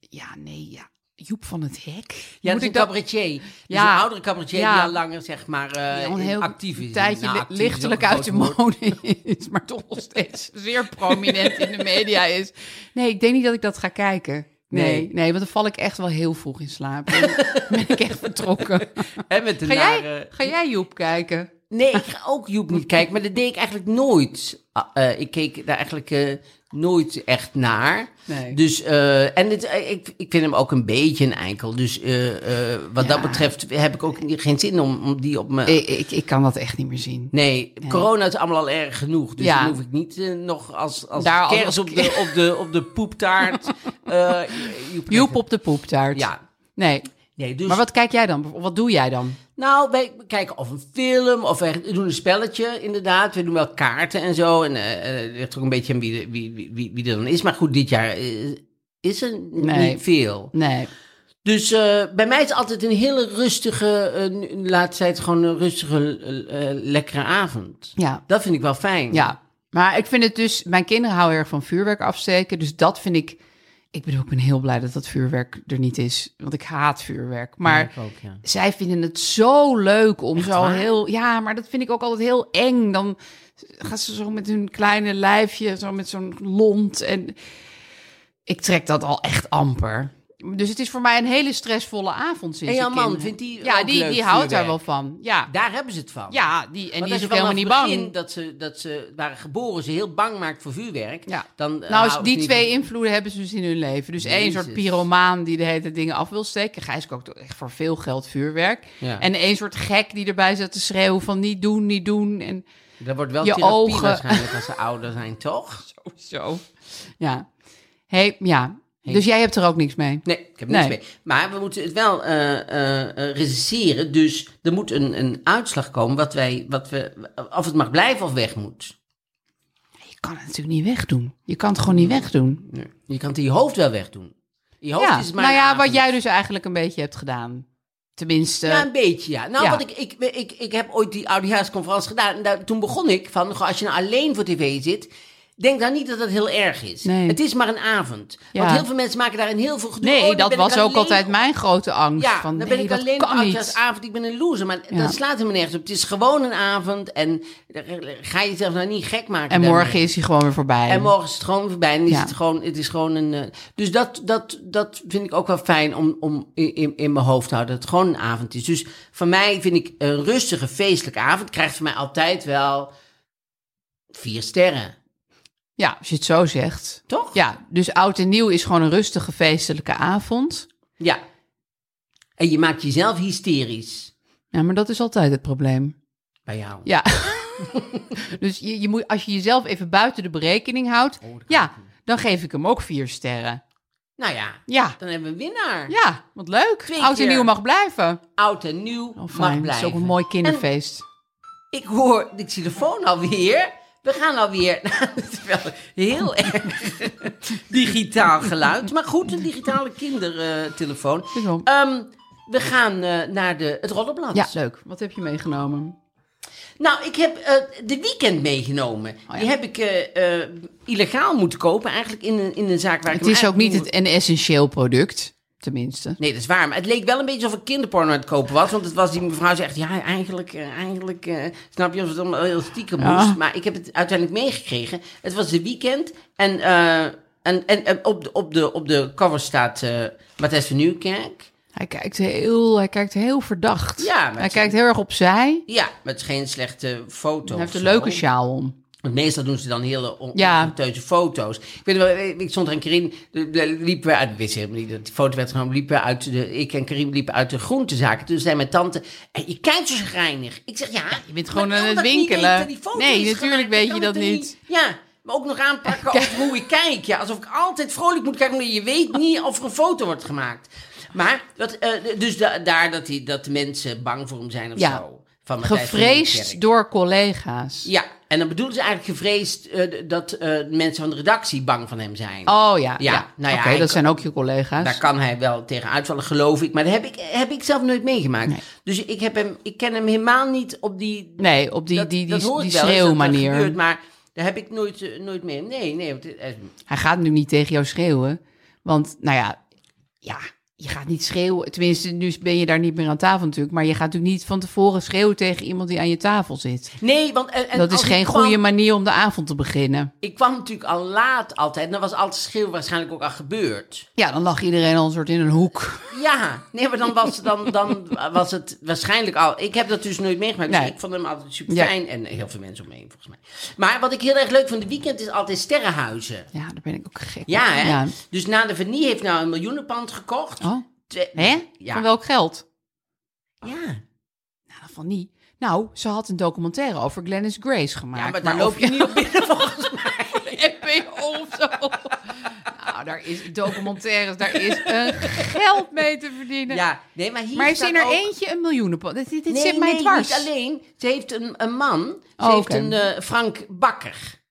Speaker 2: Ja, nee, ja. Joep van het Hek.
Speaker 1: Ja, dus dat is
Speaker 2: Moet ik
Speaker 1: een cabaretier. Ja.
Speaker 2: Ja.
Speaker 1: een oudere cabaretier
Speaker 2: Ja.
Speaker 1: die al langer, zeg maar, eh,
Speaker 2: Ja, een heel
Speaker 1: actief is.
Speaker 2: een tijdje
Speaker 1: Nou,
Speaker 2: li-
Speaker 1: actief is ook
Speaker 2: lichtelijk
Speaker 1: een
Speaker 2: uit de
Speaker 1: groot woord.
Speaker 2: mode is, maar toch nog steeds zeer prominent in de media is. Nee, ik denk niet dat ik dat ga kijken. Nee,
Speaker 1: Nee.
Speaker 2: nee, want dan val ik echt wel heel vroeg in slaap. Dan ben ik echt vertrokken.
Speaker 1: En met de
Speaker 2: Ga jij,
Speaker 1: nare-
Speaker 2: ga jij Joep kijken?
Speaker 1: Nee, ik ga ook Joep niet kijken, maar dat deed ik eigenlijk nooit. Ah, eh, ik keek daar eigenlijk eh, nooit echt naar.
Speaker 2: Nee.
Speaker 1: Dus, eh, en het, eh, ik, ik vind hem ook een beetje een eikel. Dus eh, eh, wat dat betreft heb ik ook geen zin om, om die op mijn...
Speaker 2: Ik, ik, ik kan dat echt niet meer zien.
Speaker 1: Nou. Nee, corona is allemaal al erg genoeg. Dus
Speaker 2: Ja.
Speaker 1: dan hoef ik niet eh, nog als, als
Speaker 2: Daar als-
Speaker 1: kers
Speaker 2: als-
Speaker 1: op, de, op, de, op de poeptaart. eh, Joep,
Speaker 2: Joep op de poeptaart.
Speaker 1: Ja.
Speaker 2: Nee.
Speaker 1: Nee, dus,
Speaker 2: Maar wat kijk jij dan? Wat doe jij dan?
Speaker 1: Nou, wij kijken of een film, of wij doen een spelletje, inderdaad. We doen wel kaarten en zo. En eh, eh, het ligt ook een beetje aan wie, de- wie, wie- wie, wie er dan is. Maar goed, dit jaar eh, is er
Speaker 2: Nee.
Speaker 1: niet veel.
Speaker 2: Nee.
Speaker 1: Dus eh, bij mij is het altijd een hele rustige, eh, nu- de laatste tijd gewoon een rustige, eh, eh, lekkere avond.
Speaker 2: Ja.
Speaker 1: Dat vind ik wel fijn.
Speaker 2: Ja, maar ik vind het dus... Mijn kinderen houden erg van vuurwerk afsteken. Dus dat vind ik... Ik bedoel, ik ben heel blij dat dat vuurwerk er niet is. Want ik haat vuurwerk. Maar
Speaker 1: ik ook, ja.
Speaker 2: zij vinden het zo leuk om zo
Speaker 1: waar?
Speaker 2: heel... Ja, maar dat vind ik ook altijd heel eng. Dan gaan ze zo met hun kleine lijfje, zo met zo'n lont. En ik trek dat al echt amper. Dus het is voor mij een hele stressvolle avond sinds
Speaker 1: En jouw
Speaker 2: ik
Speaker 1: man,
Speaker 2: kinderen-
Speaker 1: vindt die
Speaker 2: Ja,
Speaker 1: ook
Speaker 2: die,
Speaker 1: leuk
Speaker 2: die houdt daar wel
Speaker 1: vuurwerk?
Speaker 2: van. Ja,
Speaker 1: Daar hebben ze het van.
Speaker 2: ja die, en
Speaker 1: Want als
Speaker 2: die is
Speaker 1: je
Speaker 2: ook helemaal
Speaker 1: vanaf
Speaker 2: niet
Speaker 1: het
Speaker 2: bang.
Speaker 1: begin Dat ze, dat ze waren geboren, ze heel bang maakt voor vuurwerk.
Speaker 2: Ja.
Speaker 1: Dan, eh,
Speaker 2: nou,
Speaker 1: houden
Speaker 2: dus
Speaker 1: ze
Speaker 2: die
Speaker 1: niet-
Speaker 2: twee invloeden hebben ze dus in hun leven. Dus één soort
Speaker 1: Jezus.
Speaker 2: pyromaan die de hele tijd dingen af wil steken. Gijs kookt echt voor veel geld vuurwerk.
Speaker 1: Ja.
Speaker 2: En één soort gek die erbij zat te schreeuwen van niet doen, niet doen. En
Speaker 1: Dat wordt wel
Speaker 2: Je
Speaker 1: therapie
Speaker 2: ogen.
Speaker 1: waarschijnlijk als ze ouder zijn, toch?
Speaker 2: oh, zo. Ja. Hey, ja. Dus jij hebt er ook niks mee?
Speaker 1: Nee, ik heb niks
Speaker 2: Nee.
Speaker 1: mee. Maar we moeten het wel eh eh, eh, recenseren. Dus er moet een, een uitslag komen wat wij, wat we, of het mag blijven of weg moet.
Speaker 2: Je kan het natuurlijk niet wegdoen. Je kan het gewoon
Speaker 1: Mm.
Speaker 2: niet wegdoen.
Speaker 1: Je kan het in je hoofd wel wegdoen. In Je hoofd
Speaker 2: Ja.
Speaker 1: is maar
Speaker 2: Nou
Speaker 1: een
Speaker 2: ja, wat
Speaker 1: avond.
Speaker 2: jij dus eigenlijk een beetje hebt gedaan. Tenminste.
Speaker 1: Ja, een beetje, ja. Nou,
Speaker 2: Ja.
Speaker 1: want ik, ik, ik, ik heb ooit die oudejaarsconferentie gedaan. En daar, toen begon ik van, goh, als je nou alleen voor tv zit... Denk dan niet dat dat heel erg is.
Speaker 2: Nee.
Speaker 1: Het is maar een avond.
Speaker 2: Ja.
Speaker 1: Want heel veel mensen maken daar een heel veel gedoe. Oh,
Speaker 2: nee,
Speaker 1: dan
Speaker 2: dat
Speaker 1: ben
Speaker 2: was
Speaker 1: ik
Speaker 2: ook
Speaker 1: alleen
Speaker 2: altijd mijn grote angst.
Speaker 1: Ja,
Speaker 2: van,
Speaker 1: dan ben
Speaker 2: nee,
Speaker 1: ik
Speaker 2: dat
Speaker 1: alleen
Speaker 2: kan
Speaker 1: op
Speaker 2: niet.
Speaker 1: avond. Ik ben een loser, maar
Speaker 2: Ja.
Speaker 1: dat slaat helemaal nergens op. Het is gewoon een avond en eh, ga jezelf nou niet gek maken.
Speaker 2: En
Speaker 1: daarmee.
Speaker 2: morgen is hij gewoon weer voorbij.
Speaker 1: En morgen is het gewoon voorbij en is
Speaker 2: Ja.
Speaker 1: het, gewoon, het is gewoon een... eh, Dus dat, dat, dat vind ik ook wel fijn om, om in, in- in mijn hoofd te houden, dat het gewoon een avond is. Dus voor mij vind ik een rustige, feestelijke avond krijgt voor mij altijd wel vier sterren,
Speaker 2: Ja, als je het zo zegt.
Speaker 1: toch?
Speaker 2: Ja, dus oud en nieuw is gewoon een rustige feestelijke avond.
Speaker 1: Ja. En je maakt jezelf hysterisch
Speaker 2: Ja, maar dat is altijd het probleem.
Speaker 1: bij jou.
Speaker 2: Ja. dus je, je moet, als je jezelf even buiten de berekening houdt, ja, dan geef ik hem ook vier sterren.
Speaker 1: Nou ja,
Speaker 2: Ja,
Speaker 1: dan hebben we een winnaar.
Speaker 2: ja, wat leuk.
Speaker 1: Twee
Speaker 2: oud en
Speaker 1: keer.
Speaker 2: nieuw mag blijven.
Speaker 1: Oud en nieuw
Speaker 2: Oh, fijn.
Speaker 1: mag
Speaker 2: Dat is
Speaker 1: blijven.
Speaker 2: ook een mooi kinderfeest.
Speaker 1: Ik hoor de telefoon alweer. We gaan alweer. Nou, het is wel heel
Speaker 2: Oh.
Speaker 1: erg digitaal geluid. Maar goed, een digitale kindertelefoon.
Speaker 2: Is wel-
Speaker 1: Ehm, we gaan eh, naar de, het rollenblad.
Speaker 2: Ja, leuk. Wat heb je meegenomen?
Speaker 1: Nou, ik heb eh, de weekend meegenomen.
Speaker 2: Oh, ja.
Speaker 1: Die heb ik eh, eh, illegaal moeten kopen, eigenlijk in een, in een zaak waar ik
Speaker 2: Het
Speaker 1: hem
Speaker 2: is ook niet
Speaker 1: eigenlijk
Speaker 2: het, een essentieel product, tenminste.
Speaker 1: Nee, dat is waar. Maar het leek wel een beetje alsof ik kinderporno aan het kopen was. Want het was die mevrouw zegt, ja, eigenlijk, eh, eigenlijk eh, snap je of het allemaal heel stiekem moest.
Speaker 2: Ja.
Speaker 1: Maar ik heb het uiteindelijk meegekregen. Het was de weekend en, eh, en, en, en op, de, op, de, op de cover staat eh Matthijs van Nieuwkerk.
Speaker 2: Hij kijkt heel, hij kijkt heel verdacht.
Speaker 1: Ja, maar
Speaker 2: hij
Speaker 1: het-
Speaker 2: kijkt heel erg opzij.
Speaker 1: Ja, maar het is geen slechte foto.
Speaker 2: Hij heeft
Speaker 1: of
Speaker 2: een
Speaker 1: zo.
Speaker 2: leuke sjaal om.
Speaker 1: Want meestal doen ze dan hele on-
Speaker 2: Ja.
Speaker 1: ongeteuze foto's. Ik weet wel, eh, ik stond er en Karim, de- de- liepen we uit, ik wist helemaal niet dat die foto werd genomen, liepen we uit de, ik en Karim liepen uit de groentezaken. Toen zei mijn tante, "En je kijkt zo schrijnig. Ik zeg, ja,
Speaker 2: je bent
Speaker 1: maar
Speaker 2: gewoon aan
Speaker 1: omdat
Speaker 2: het
Speaker 1: ik niet
Speaker 2: winkelen.
Speaker 1: weet dat die foto
Speaker 2: Nee,
Speaker 1: is
Speaker 2: natuurlijk
Speaker 1: gemaakt,
Speaker 2: weet
Speaker 1: kan
Speaker 2: je
Speaker 1: ik
Speaker 2: dat
Speaker 1: er
Speaker 2: niet.
Speaker 1: Ja, maar ook nog aanpakken over hoe ik kijk. Ja, alsof ik altijd vrolijk moet kijken, omdat je weet niet of er een foto wordt gemaakt. Maar, dat, eh, dus da- daar dat, die, dat de mensen bang voor hem zijn of
Speaker 2: Ja.
Speaker 1: zo. Van Matthijs van Nieuwkerk.
Speaker 2: Gevreesd door collega's.
Speaker 1: Ja, En dan bedoelen ze eigenlijk gevreesd eh, d- dat eh, mensen van de redactie bang van hem zijn.
Speaker 2: Oh ja, ja.
Speaker 1: nou ja,
Speaker 2: Oké,
Speaker 1: hij
Speaker 2: dat
Speaker 1: kan-
Speaker 2: zijn ook je collega's.
Speaker 1: Daar kan hij wel tegen uitvallen, geloof ik. Maar dat heb ik, heb ik zelf nooit meegemaakt.
Speaker 2: Nee.
Speaker 1: Dus ik, heb hem, ik ken hem helemaal niet op die...
Speaker 2: Nee, op die,
Speaker 1: dat-
Speaker 2: die, die,
Speaker 1: dat hoor
Speaker 2: die
Speaker 1: ik wel eens dat dat
Speaker 2: schreeuwmanier.
Speaker 1: gebeurt, maar daar heb ik nooit, eh, nooit mee. Nee, nee. Want, eh, het- hij-
Speaker 2: Hij gaat nu niet tegen jou schreeuwen. Want, nou ja, ja, je gaat niet schreeuwen. Tenminste, nu ben je daar niet meer aan tafel natuurlijk. Maar je gaat natuurlijk niet van tevoren schreeuwen tegen iemand die aan je tafel zit.
Speaker 1: nee, want... eh, En, en
Speaker 2: dat is
Speaker 1: als ik
Speaker 2: geen
Speaker 1: kwam-
Speaker 2: goede manier om de avond te beginnen.
Speaker 1: Ik kwam natuurlijk al laat altijd. En dan was al het schreeuw waarschijnlijk ook al gebeurd.
Speaker 2: Ja, dan lag iedereen al een soort in een hoek.
Speaker 1: Ja, nee, maar dan was, dan, dan was het waarschijnlijk al... Ik heb dat dus nooit meegemaakt. Dus
Speaker 2: Nee.
Speaker 1: ik vond hem altijd super fijn. En heel veel mensen om me heen, volgens mij. Maar wat ik heel erg leuk vond, de weekend is altijd sterrenhuizen.
Speaker 2: Ja, daar ben ik ook gek.
Speaker 1: Ja,
Speaker 2: op.
Speaker 1: hè? Dus na de Vanille heeft nou een miljoenenpand gekocht.
Speaker 2: Oh,
Speaker 1: Twee-
Speaker 2: hè?
Speaker 1: Ja.
Speaker 2: Van welk Ah, geld?
Speaker 1: Ja.
Speaker 2: Nou, van niet. Nou, ze had een documentaire over Glennis Grace gemaakt.
Speaker 1: ja, maar daar loop je niet op binnen volgens mij.
Speaker 2: NPO of zo. nou, daar is documentaires, daar is een geld mee te verdienen.
Speaker 1: Ja, nee, maar hier
Speaker 2: maar heeft
Speaker 1: staat
Speaker 2: in er
Speaker 1: ook-
Speaker 2: eentje een miljoenenpot? Dit, dit, dit
Speaker 1: Nee,
Speaker 2: zit mij
Speaker 1: nee,
Speaker 2: dwars.
Speaker 1: niet alleen. Ze heeft een, een man. Ze
Speaker 2: Oh,
Speaker 1: heeft
Speaker 2: oké.
Speaker 1: een eh, Frank Bakker.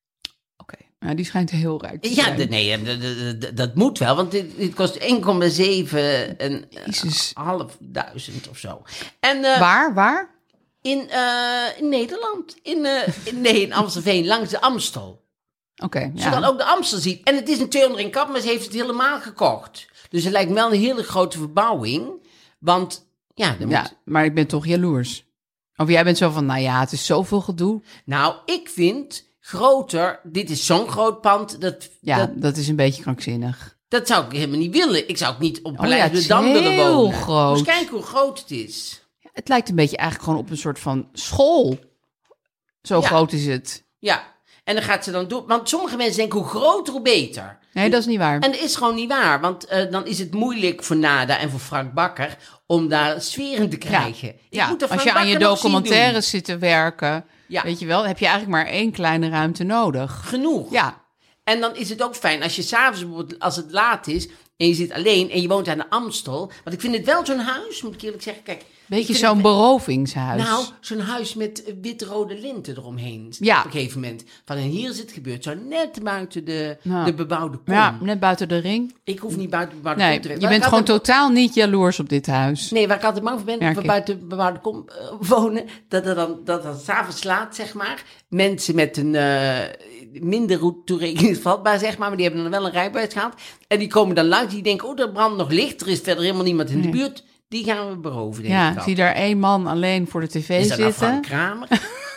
Speaker 2: Oké, nou, die schijnt heel rijk te
Speaker 1: Ja,
Speaker 2: zijn.
Speaker 1: de- nee, eh, de- de- de- dat moet wel, want dit, dit kost 1,7 en eh,
Speaker 2: Jezus.
Speaker 1: half duizend of zo. En eh,
Speaker 2: Waar, waar?
Speaker 1: in, eh, in Nederland, in, eh, in- nee, in Amstelveen, langs de Amstel.
Speaker 2: Oké, ja.
Speaker 1: Zodat ook de Amstel ziet. En het is een 200 in kap, maar ze heeft het helemaal gekocht. Dus het lijkt me wel een hele grote verbouwing. Want ja, dan
Speaker 2: ja,
Speaker 1: moet...
Speaker 2: maar ik ben toch jaloers. Of jij bent zo van, nou ja, het is zoveel gedoe.
Speaker 1: Nou, ik vind groter, dit is zo'n groot pand, dat,
Speaker 2: Ja,
Speaker 1: dat,
Speaker 2: dat, is een beetje krankzinnig.
Speaker 1: dat zou ik helemaal niet willen. Ik zou ook niet op Paleis
Speaker 2: Oh, ja, het
Speaker 1: de
Speaker 2: is
Speaker 1: Dam willen
Speaker 2: heel
Speaker 1: wonen.
Speaker 2: groot.
Speaker 1: Dus kijk hoe groot het is.
Speaker 2: Het lijkt een beetje eigenlijk gewoon op een soort van school. Zo
Speaker 1: Ja.
Speaker 2: groot is het.
Speaker 1: Ja, en dan gaat ze dan door. Want sommige mensen denken, hoe groter, hoe beter.
Speaker 2: Nee, dat is niet waar.
Speaker 1: En dat is gewoon niet waar, want eh, dan is het moeilijk voor Nada en voor Frank Bakker om daar sfeer in te krijgen. Ik
Speaker 2: ja,
Speaker 1: moet er
Speaker 2: als
Speaker 1: Frank
Speaker 2: je aan je
Speaker 1: Bakker nog zien doen.
Speaker 2: documentaires zit te werken,
Speaker 1: Ja.
Speaker 2: weet je wel, heb je eigenlijk maar één kleine ruimte nodig.
Speaker 1: genoeg.
Speaker 2: Ja,
Speaker 1: En dan is het ook fijn als je s'avonds bijvoorbeeld, als het laat is en je zit alleen en je woont aan de Amstel. Want ik vind het wel zo'n huis, moet ik eerlijk zeggen. Kijk, ik
Speaker 2: beetje
Speaker 1: vind
Speaker 2: zo'n
Speaker 1: het-
Speaker 2: berovingshuis.
Speaker 1: Nou, zo'n huis met eh, wit-rode linten eromheen.
Speaker 2: Ja.
Speaker 1: Op een gegeven moment. Van en hier is het gebeurd. Zo net buiten de,
Speaker 2: Ja.
Speaker 1: de bebouwde kom.
Speaker 2: ja, net buiten de ring.
Speaker 1: Ik hoef niet buiten de bebouwde
Speaker 2: Nee,
Speaker 1: kom te
Speaker 2: je
Speaker 1: werken.
Speaker 2: bent
Speaker 1: Waar ik
Speaker 2: gewoon
Speaker 1: altijd-
Speaker 2: totaal niet jaloers op dit huis.
Speaker 1: Nee, waar ik altijd bang voor ben,
Speaker 2: Merk
Speaker 1: voor
Speaker 2: ik.
Speaker 1: buiten de bebouwde kom eh, wonen, dat er dan, dat dan s'avonds laat, zeg maar, mensen met een eh, minder goed toerekeningsvatbaar, zeg maar, maar die hebben dan wel een rijbewijs gehad. En die komen dan langs, die denken, oh, er brandt nog licht, er is verder helemaal niemand in de buurt. Die gaan we beroven, denk ik
Speaker 2: ja,
Speaker 1: dan.
Speaker 2: zie daar één man alleen voor de tv
Speaker 1: is dat nou
Speaker 2: zitten.
Speaker 1: Frank Kramer?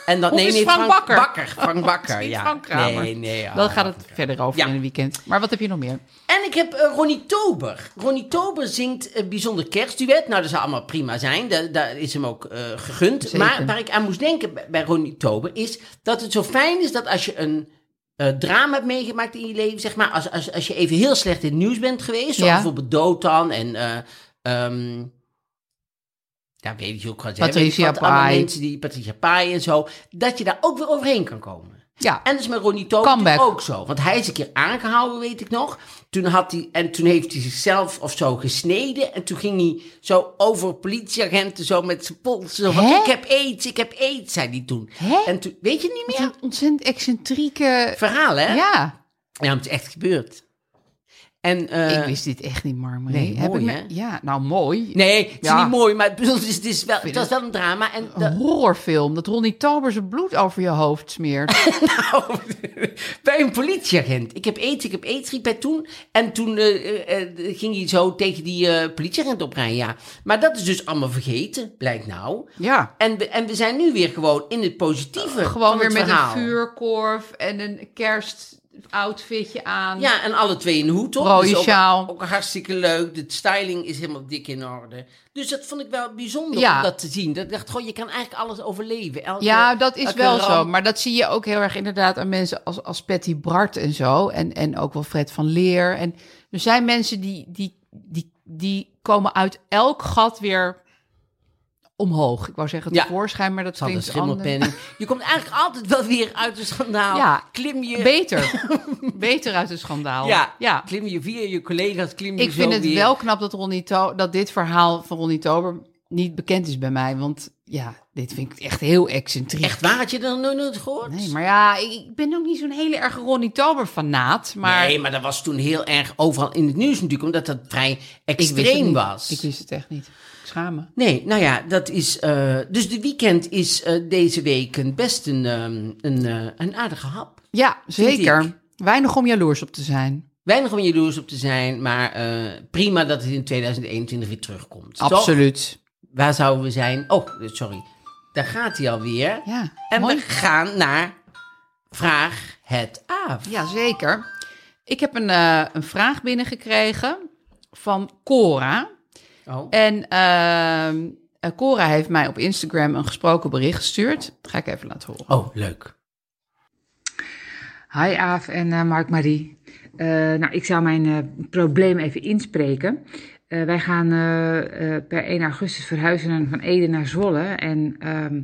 Speaker 1: En dan
Speaker 2: Of
Speaker 1: nee,
Speaker 2: is
Speaker 1: nee,
Speaker 2: Frank Bakker?
Speaker 1: Frank Bakker,
Speaker 2: Niet
Speaker 1: ja.
Speaker 2: Frank Kramer.
Speaker 1: Nee, nee. ja.
Speaker 2: Dan gaat het verder over
Speaker 1: Ja.
Speaker 2: in het weekend. Maar wat heb je nog meer?
Speaker 1: En ik heb eh, Ronnie Tober. Ronnie Tober zingt een bijzonder kerstduet. Nou, dat zou allemaal prima zijn. Da- Daar is hem ook eh, gegund.
Speaker 2: Zeker.
Speaker 1: Maar waar ik aan moest denken bij- bij Ronnie Tober is dat het zo fijn is dat als je een eh, drama hebt meegemaakt in je leven, zeg maar, als, als, als je even heel slecht in het nieuws bent geweest, zoals
Speaker 2: Ja.
Speaker 1: bijvoorbeeld Dotan en. eh ehm, ja, weet je ook wat. hè,
Speaker 2: Patricia
Speaker 1: weet je wat, allemaal
Speaker 2: Pai.
Speaker 1: mensen die Patricia Pai en zo. Dat je daar ook weer overheen kan komen.
Speaker 2: Ja,
Speaker 1: En dat is met Ronnie Tober
Speaker 2: Comeback.
Speaker 1: natuurlijk ook zo. Want hij is een keer aangehouden, weet ik nog. Toen had hij, en toen heeft hij zichzelf of zo gesneden. En toen ging hij zo over politieagenten zo met zijn pols. Zo van,
Speaker 2: Hè?
Speaker 1: ik heb aids, ik heb aids, zei hij toen.
Speaker 2: Hè?
Speaker 1: En toen, weet je niet meer?
Speaker 2: een ontzettend excentrieke...
Speaker 1: Verhaal, hè?
Speaker 2: Ja,
Speaker 1: Ja, het is echt gebeurd. En, eh,
Speaker 2: ik wist dit echt niet, Marmarie.
Speaker 1: nee,
Speaker 2: Heb
Speaker 1: mooi,
Speaker 2: ik me-
Speaker 1: hè?
Speaker 2: Ja, nou mooi.
Speaker 1: Nee, het is
Speaker 2: Ja.
Speaker 1: niet mooi, maar het is- het, is wel, het was wel een drama. En
Speaker 2: Een horrorfilm, dat Ronnie Tober zijn bloed over je hoofd smeert.
Speaker 1: Nou, bij een politieagent. Ik heb aids, ik heb aids, riep hij toen. En toen eh, eh, eh, ging hij zo tegen die eh, politieagent oprijden, ja. Maar dat is dus allemaal vergeten, blijkt nou.
Speaker 2: Ja. Eh,
Speaker 1: En we, en we zijn nu weer gewoon in het positieve
Speaker 2: Gewoon
Speaker 1: van
Speaker 2: weer
Speaker 1: het
Speaker 2: met
Speaker 1: verhaal.
Speaker 2: een vuurkorf en een kerstoutfitje aan.
Speaker 1: Ja, en alle twee een hoed op.
Speaker 2: Rode
Speaker 1: ook-
Speaker 2: sjaal.
Speaker 1: Ook, hartstikke leuk. De styling is helemaal dik in orde. Dus dat vond ik wel bijzonder
Speaker 2: Ja.
Speaker 1: om dat te zien. Dat ik dacht, goh, je kan eigenlijk alles overleven. Elke-
Speaker 2: Ja, dat is
Speaker 1: elke
Speaker 2: wel zo.
Speaker 1: ramp.
Speaker 2: Maar dat zie je ook heel erg inderdaad aan mensen als, als Patty Bart en zo. En, en ook wel Fred van Leer. En er zijn mensen die, die, die, die komen uit elk gat weer omhoog. Ik wou zeggen
Speaker 1: Ja.
Speaker 2: tevoorschijn, maar dat
Speaker 1: Van de
Speaker 2: klinkt anders.
Speaker 1: schimmelpenning. Je komt eigenlijk altijd wel weer uit de schandaal.
Speaker 2: Ja.
Speaker 1: Klim je...
Speaker 2: Beter. Beter uit het schandaal.
Speaker 1: Ja,
Speaker 2: ja.
Speaker 1: klim je via je collega's, klim je
Speaker 2: Ik
Speaker 1: zo
Speaker 2: vind het
Speaker 1: weer.
Speaker 2: wel knap dat, Ronnie To- dat dit verhaal van Ronnie Tober niet bekend is bij mij. Want ja, dit vind ik echt heel excentriek.
Speaker 1: Echt waar, had je dat nog nooit gehoord?
Speaker 2: Nee, maar ja, ik, ik ben ook niet zo'n hele erg Ronnie Tober fanaat. Maar
Speaker 1: Nee, maar dat was toen heel erg overal in het nieuws natuurlijk, omdat dat vrij
Speaker 2: ik wist het
Speaker 1: extreem
Speaker 2: niet.
Speaker 1: was.
Speaker 2: Ik wist het echt niet. Ik schaam me.
Speaker 1: Nee, nou ja, dat is. eh, dus de weekend is eh, deze week een best een, ehm, een, eh, een aardige hap.
Speaker 2: Ja,
Speaker 1: ik.
Speaker 2: zeker. Weinig om jaloers op te zijn.
Speaker 1: Weinig om jaloers op te zijn, maar eh, prima dat het in 2021 weer terugkomt. toch?
Speaker 2: Absoluut.
Speaker 1: Waar zouden we zijn? Oh, sorry. Daar gaat hij alweer.
Speaker 2: Ja,
Speaker 1: en
Speaker 2: mooi.
Speaker 1: we gaan naar Vraag het af.
Speaker 2: Ja, zeker. Ik heb een, eh, een vraag binnengekregen van Cora.
Speaker 1: Oh.
Speaker 2: En ehm, eh, Cora heeft mij op Instagram een gesproken bericht gestuurd. Dat ga ik even laten horen.
Speaker 1: oh, leuk.
Speaker 3: Hi Aaf en eh, Mark-Marie. Eh, nou, ik zou mijn eh, probleem even inspreken. Eh, wij gaan eh, eh, per 1 augustus verhuizen naar- van Ede naar Zwolle. En ehm,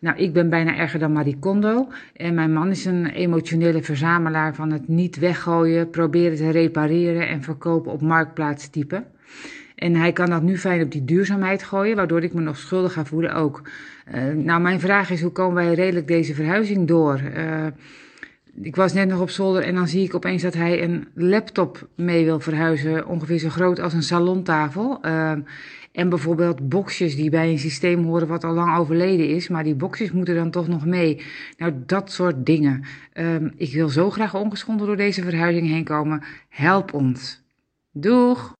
Speaker 3: nou, ik ben bijna erger dan Marie Kondo. En mijn man is een emotionele verzamelaar van het niet weggooien, proberen te repareren en verkopen op marktplaatstype. En hij kan dat nu fijn op die duurzaamheid gooien, waardoor ik me nog schuldig ga voelen ook. Eh, nou, mijn vraag is, hoe komen wij redelijk deze verhuizing door? Eh, ik was net nog op zolder en dan zie ik opeens dat hij een laptop mee wil verhuizen. Ongeveer zo groot als een salontafel. Ehm, en bijvoorbeeld boxjes die bij een systeem horen wat al lang overleden is. Maar die boxjes moeten dan toch nog mee. Nou, dat soort dingen. Ehm, ik wil zo graag ongeschonden door deze verhuizing heen komen. Help ons. Doeg!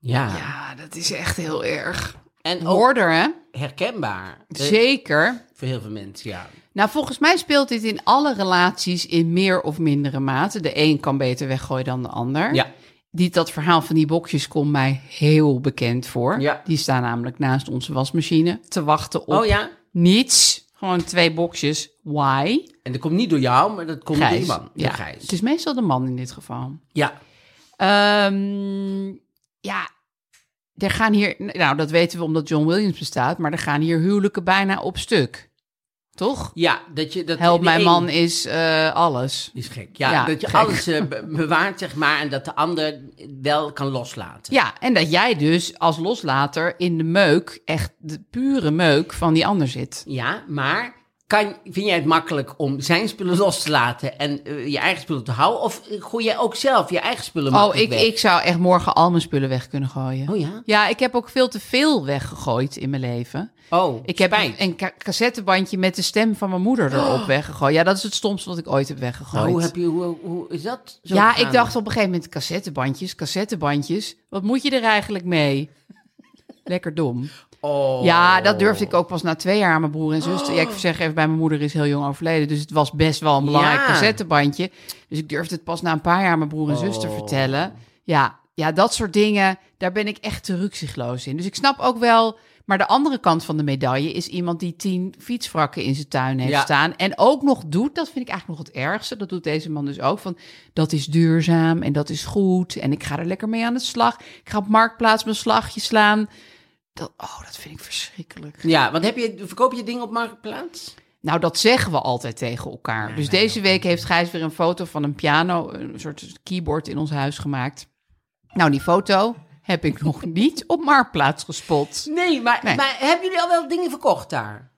Speaker 1: Ja.
Speaker 2: Ja, dat is echt heel erg.
Speaker 1: En ook
Speaker 2: Hoorder, hè?
Speaker 1: herkenbaar. Eh,
Speaker 2: Zeker.
Speaker 1: Voor heel veel mensen, ja.
Speaker 2: Nou, volgens mij speelt dit in alle relaties in meer of mindere mate. De een kan beter weggooien dan de ander.
Speaker 1: Ja.
Speaker 2: Die, dat verhaal van die boxjes komt mij heel bekend voor.
Speaker 1: Ja.
Speaker 2: Die staan namelijk naast onze wasmachine te wachten op
Speaker 1: Oh ja.
Speaker 2: niets. Gewoon twee boxjes. Why?
Speaker 1: En dat komt niet door jou, maar dat komt door
Speaker 2: Gijs.
Speaker 1: die man.
Speaker 2: Ja, Dus-
Speaker 1: Ja, Gijs.
Speaker 2: Het is meestal de man in dit geval.
Speaker 1: ja.
Speaker 2: Ehm, ja, er gaan hier... Nou, dat weten we omdat John Williams bestaat. Maar er gaan hier huwelijken bijna op stuk. Toch?
Speaker 1: ja, dat je... Dat
Speaker 2: Help,
Speaker 1: de
Speaker 2: mijn
Speaker 1: een
Speaker 2: man is eh, alles.
Speaker 1: Is gek. Ja,
Speaker 2: Ja,
Speaker 1: dat je
Speaker 2: gek.
Speaker 1: alles eh, be- bewaart, zeg maar, en dat de ander wel kan loslaten.
Speaker 2: Ja, en dat jij dus als loslater in de meuk, echt de pure meuk van die ander zit.
Speaker 1: Ja, maar kan, vind jij het makkelijk om zijn spullen los te laten en eh, je eigen spullen te houden? Of eh, gooi jij ook zelf je eigen spullen
Speaker 2: Oh,
Speaker 1: makkelijk
Speaker 2: ik,
Speaker 1: weg?
Speaker 2: ik zou echt morgen al mijn spullen weg kunnen gooien.
Speaker 1: Oh ja?
Speaker 2: Ja, ik heb ook veel te veel weggegooid in mijn leven.
Speaker 1: Oh,
Speaker 2: Ik heb
Speaker 1: spijt. Oh.
Speaker 2: een ka- cassettebandje met de stem van mijn moeder erop weggegooid. Ja, dat is het stomste wat ik ooit heb weggegooid.
Speaker 1: Nou, hoe, heb je, hoe, hoe is dat zo
Speaker 2: ja,
Speaker 1: gegaan?
Speaker 2: ik dacht op een gegeven moment cassettebandjes, cassettebandjes. Wat moet je er eigenlijk mee? Lekker dom.
Speaker 1: Oh.
Speaker 2: Ja, dat durfde ik ook pas na twee jaar aan mijn broer en zuster. Ja, ik zeg even, bij mijn moeder is heel jong overleden. Dus het was best wel een belangrijk
Speaker 1: Ja.
Speaker 2: cassettebandje. Dus ik durfde het pas na een paar jaar aan mijn broer en zuster vertellen. Ja, ja, dat soort dingen, daar ben ik echt te rukzichtloos in. Dus ik snap ook wel... Maar de andere kant van de medaille is iemand die tien fietswrakken in zijn tuin heeft
Speaker 1: Ja.
Speaker 2: staan. En ook nog doet, dat vind ik eigenlijk nog het ergste. Dat doet deze man dus ook. Van dat is duurzaam en dat is goed. En ik ga er lekker mee aan de slag. Ik ga op marktplaats mijn slagje slaan. Dat, oh, dat vind ik verschrikkelijk.
Speaker 1: Ja, want heb je, verkoop je dingen op Marktplaats?
Speaker 2: Nou, dat zeggen we altijd tegen elkaar. dus deze week heeft Gijs weer een foto van een piano, een soort keyboard in ons huis gemaakt. Nou, die foto heb ik nog niet op Marktplaats gespot.
Speaker 1: Nee, maar,
Speaker 2: Nee.
Speaker 1: maar hebben jullie al wel dingen verkocht daar?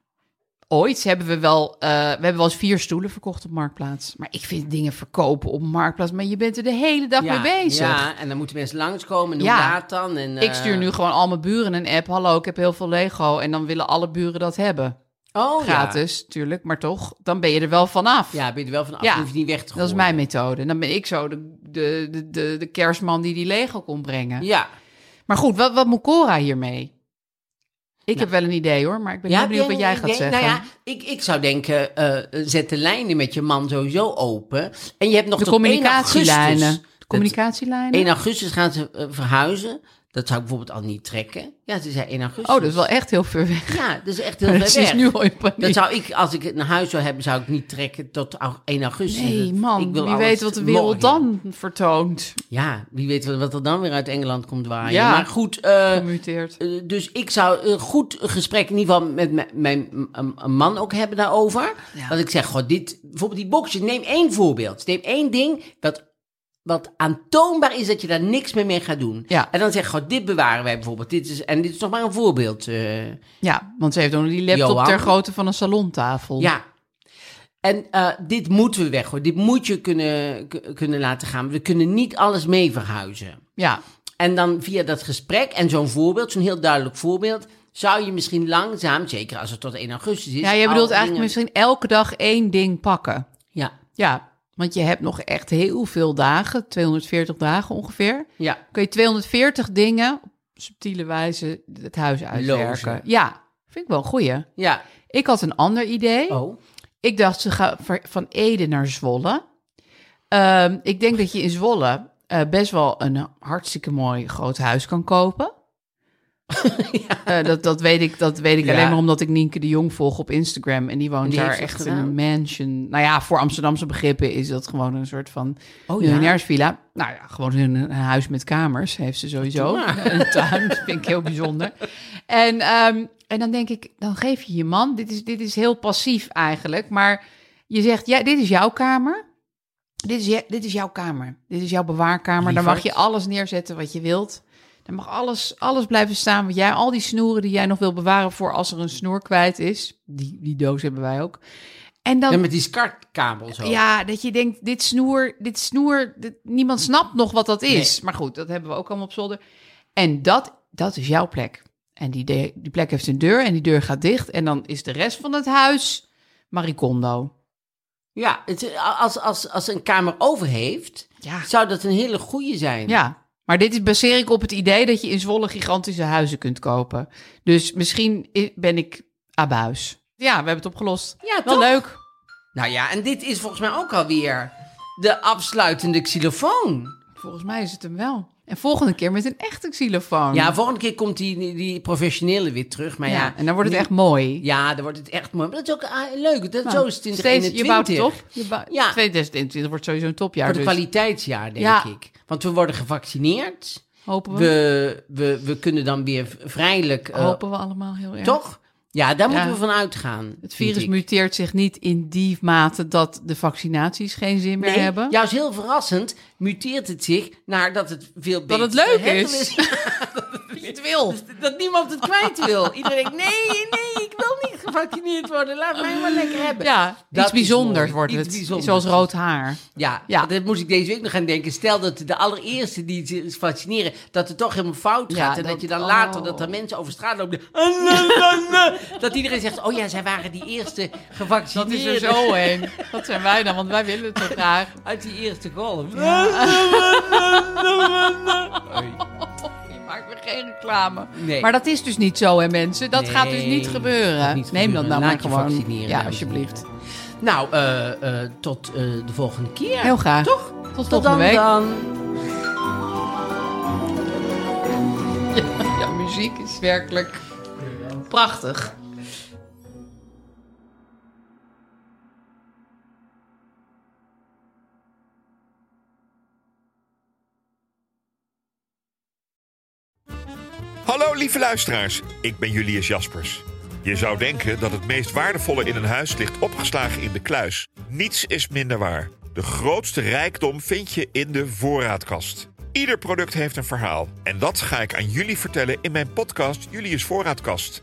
Speaker 2: Ooit hebben we wel, eh, we hebben wel eens vier stoelen verkocht op Marktplaats. Maar ik vind dingen verkopen op Marktplaats, maar je bent er de hele dag
Speaker 1: ja,
Speaker 2: mee bezig.
Speaker 1: Ja, en dan moeten mensen langskomen. En
Speaker 2: Ja.
Speaker 1: hoe laat dan? En, eh,
Speaker 2: Ik stuur nu gewoon al mijn buren een app. Hallo, ik heb heel veel Lego. En dan willen alle buren dat hebben.
Speaker 1: oh,
Speaker 2: Gratis, tuurlijk. Maar toch, dan ben je er wel vanaf.
Speaker 1: Ja. ja, ben je er wel van af.
Speaker 2: Ja,
Speaker 1: Ja, hoef je niet weg te
Speaker 2: Dat is
Speaker 1: gooien.
Speaker 2: mijn methode. En dan ben ik zo de, de, de, de, de kerstman die die Lego kon brengen.
Speaker 1: Ja.
Speaker 2: Maar goed, wat, wat moet Cora hiermee? Ik heb wel een idee hoor, maar ik ben heel
Speaker 1: heb
Speaker 2: benieuwd wat
Speaker 1: een
Speaker 2: jij gaat
Speaker 1: idee?
Speaker 2: zeggen.
Speaker 1: Nou ja, ik, ik zou denken, eh, zet de lijnen met je man sowieso open. En je hebt nog
Speaker 2: de
Speaker 1: tot 1 augustus.
Speaker 2: communicatielijnen. De
Speaker 1: Het-
Speaker 2: communicatielijnen? Oh,
Speaker 1: 1 augustus gaan ze eh, verhuizen. Dat zou ik bijvoorbeeld al niet trekken. Ja, ze zei 1 augustus.
Speaker 2: Oh, dat is wel echt heel ver weg.
Speaker 1: Ja, dat is echt heel
Speaker 2: Maar
Speaker 1: ver
Speaker 2: dat is
Speaker 1: weg.
Speaker 2: nu al in paniek.
Speaker 1: Dat zou ik, als ik een huis zou hebben, zou ik niet trekken tot au- 1 augustus.
Speaker 2: Nee,
Speaker 1: Dat-
Speaker 2: man,
Speaker 1: ik wil
Speaker 2: wie
Speaker 1: alles
Speaker 2: weet wat de
Speaker 1: morgen.
Speaker 2: wereld dan vertoont.
Speaker 1: Ja, wie weet wat- wat er dan weer uit Engeland komt waaien.
Speaker 2: Ja.
Speaker 1: Maar goed, eh,
Speaker 2: Gemuteerd.
Speaker 1: eh, dus ik zou een goed gesprek in ieder geval met mijn- mijn m- m- man ook hebben daarover. Dat ik zeg, god, dit, bijvoorbeeld die boxjes, neem één voorbeeld. Neem één ding dat wat aantoonbaar is dat je daar niks meer mee gaat doen.
Speaker 2: Ja.
Speaker 1: En dan zeg je, goh, dit bewaren wij bijvoorbeeld. Dit is, en dit is nog maar een voorbeeld. eh,
Speaker 2: Ja, want ze heeft ook nog die laptop
Speaker 1: Johan.
Speaker 2: ter grootte van een salontafel.
Speaker 1: Ja. En eh, dit moeten we weg, hoor. Dit moet je kunnen, k- kunnen laten gaan. We kunnen niet alles mee verhuizen.
Speaker 2: Ja,
Speaker 1: En dan via dat gesprek en zo'n voorbeeld, zo'n heel duidelijk voorbeeld, zou je misschien langzaam, zeker als het tot 1 augustus is.
Speaker 2: ja je
Speaker 1: al
Speaker 2: bedoelt eigenlijk
Speaker 1: dingen-
Speaker 2: misschien elke dag één ding pakken.
Speaker 1: Ja,
Speaker 2: Ja, want je hebt nog echt heel veel dagen, 240 dagen ongeveer.
Speaker 1: ja.
Speaker 2: Kun je 240 dingen op subtiele wijze het huis uitwerken.
Speaker 1: Lozen.
Speaker 2: Ja, vind ik wel een goeie.
Speaker 1: Ja.
Speaker 2: Ik had een ander idee.
Speaker 1: Oh.
Speaker 2: Ik dacht, ze gaan ver- van Ede naar Zwolle. Ehm, ik denk dat je in Zwolle eh, best wel een hartstikke mooi groot huis kan kopen. Eh, dat, dat weet ik, dat weet ik
Speaker 1: Ja.
Speaker 2: alleen maar omdat ik Nienke de Jong volg op Instagram. En die woont
Speaker 1: Die
Speaker 2: daar
Speaker 1: heeft dat
Speaker 2: echt in
Speaker 1: gedaan.
Speaker 2: een mansion. Nou ja, voor Amsterdamse begrippen is dat gewoon een soort van
Speaker 1: Oh ja.
Speaker 2: miljonairsvilla. Nou ja, gewoon een, een huis met kamers heeft ze sowieso.
Speaker 1: Doe maar.
Speaker 2: Een tuin, dat vind ik heel bijzonder. En, ehm, en dan denk ik, dan geef je je man, dit is, dit is heel passief eigenlijk, maar je zegt, ja, dit is jouw kamer. Dit is, je- dit is jouw kamer. Dit is jouw bewaarkamer. Daar mag
Speaker 1: Lieverd.
Speaker 2: je alles neerzetten wat je wilt. Daar mag alles, alles blijven staan. Want jij, al die snoeren die jij nog wil bewaren voor als er een snoer kwijt is. Die, die doos hebben wij ook. En dan,
Speaker 1: En met die skartkabel zo.
Speaker 2: ja, dat je denkt, dit snoer, dit snoer, dit- niemand snapt nog wat dat is. Maar goed, dat hebben we ook allemaal op zolder. En dat, dat is jouw plek. En die, de- die plek heeft een deur en die deur gaat dicht. En dan is de rest van het huis Maricondo.
Speaker 1: Ja, het, als, als, als een kamer over heeft,
Speaker 2: Ja.
Speaker 1: zou dat een hele goeie zijn.
Speaker 2: Ja, maar dit is, baseer ik op het idee dat je in Zwolle gigantische huizen kunt kopen. Dus misschien i- ben ik abuis. Ja, we hebben het opgelost.
Speaker 1: Ja,
Speaker 2: Wel
Speaker 1: toch?
Speaker 2: leuk.
Speaker 1: Nou ja, en dit is volgens mij ook alweer de afsluitende xylofoon.
Speaker 2: Volgens mij is het hem wel. En volgende keer met een echte xylofoon.
Speaker 1: Ja, volgende keer komt die, die professionele weer terug. Maar ja,
Speaker 2: Ja, en dan wordt het echt mooi.
Speaker 1: Ja, dan wordt het echt mooi. Maar dat is ook ah, leuk. Dat,
Speaker 2: Nou,
Speaker 1: zo is het in
Speaker 2: steeds, Je bouwt het
Speaker 1: 2021.
Speaker 2: op. Je bouw-
Speaker 1: Ja.
Speaker 2: 2021 wordt sowieso een topjaar.
Speaker 1: Voor de
Speaker 2: dus
Speaker 1: kwaliteitsjaar, denk
Speaker 2: Ja.
Speaker 1: ik. Want we worden gevaccineerd.
Speaker 2: hopen we,
Speaker 1: We, we, we kunnen dan weer v- vrijelijk... eh,
Speaker 2: hopen we allemaal heel erg.
Speaker 1: Toch? Ja, daar
Speaker 2: Ja.
Speaker 1: moeten we van uitgaan.
Speaker 2: Het virus
Speaker 1: moet
Speaker 2: muteert zich niet in die mate dat de vaccinaties geen zin meer hebben.
Speaker 1: Juist heel verrassend muteert het zich naar dat het veel beter
Speaker 2: dat het leuk
Speaker 1: te handelen
Speaker 2: is.
Speaker 1: dat, het wil. dat niemand het kwijt wil. Iedereen denkt, nee, nee, ik wil niet gevaccineerd worden. Laat mij maar lekker hebben.
Speaker 2: Ja,
Speaker 1: Dat
Speaker 2: iets
Speaker 1: is
Speaker 2: bijzonders
Speaker 1: mooi.
Speaker 2: wordt
Speaker 1: Iets
Speaker 2: het.
Speaker 1: bijzonders.
Speaker 2: Zoals rood haar.
Speaker 1: Ja,
Speaker 2: Ja.
Speaker 1: dat moest ik deze week nog gaan denken. Stel dat de allereerste die zich fascineren, dat het toch helemaal fout
Speaker 2: Ja,
Speaker 1: gaat. en dat,
Speaker 2: dat-
Speaker 1: je dan
Speaker 2: oh.
Speaker 1: later, dat er mensen over straat lopen. "Ah, la, la, la." dat iedereen zegt, oh ja, zij waren die eerste
Speaker 2: Dat
Speaker 1: gevaccineerden.
Speaker 2: is dus er zo heen. Dat zijn wij dan, want wij willen het zo graag.
Speaker 1: Uit die eerste golf.
Speaker 2: Je maakt weer geen reclame.
Speaker 1: Nee.
Speaker 2: Maar dat is dus niet zo, hè mensen. Dat
Speaker 1: Nee,
Speaker 2: gaat dus niet
Speaker 1: dat
Speaker 2: gebeuren.
Speaker 1: gaat niet
Speaker 2: Neem dat
Speaker 1: gebeuren.
Speaker 2: nou maar
Speaker 1: Laat je
Speaker 2: gewoon.
Speaker 1: vaccineren,
Speaker 2: ja,
Speaker 1: dames en
Speaker 2: alsjeblieft.
Speaker 1: Nou, eh, eh, tot eh, de volgende keer.
Speaker 2: Heel graag.
Speaker 1: Toch?
Speaker 2: Tot
Speaker 1: tot
Speaker 2: volgende
Speaker 1: dan,
Speaker 2: week.
Speaker 1: dan.
Speaker 2: Ja, muziek is werkelijk prachtig.
Speaker 4: Hallo lieve luisteraars, ik ben Julius Jaspers. Je zou denken dat het meest waardevolle in een huis ligt opgeslagen in de kluis. Niets is minder waar. De grootste rijkdom vind je in de voorraadkast. Ieder product heeft een verhaal. En dat ga ik aan jullie vertellen in mijn podcast Julius Voorraadkast.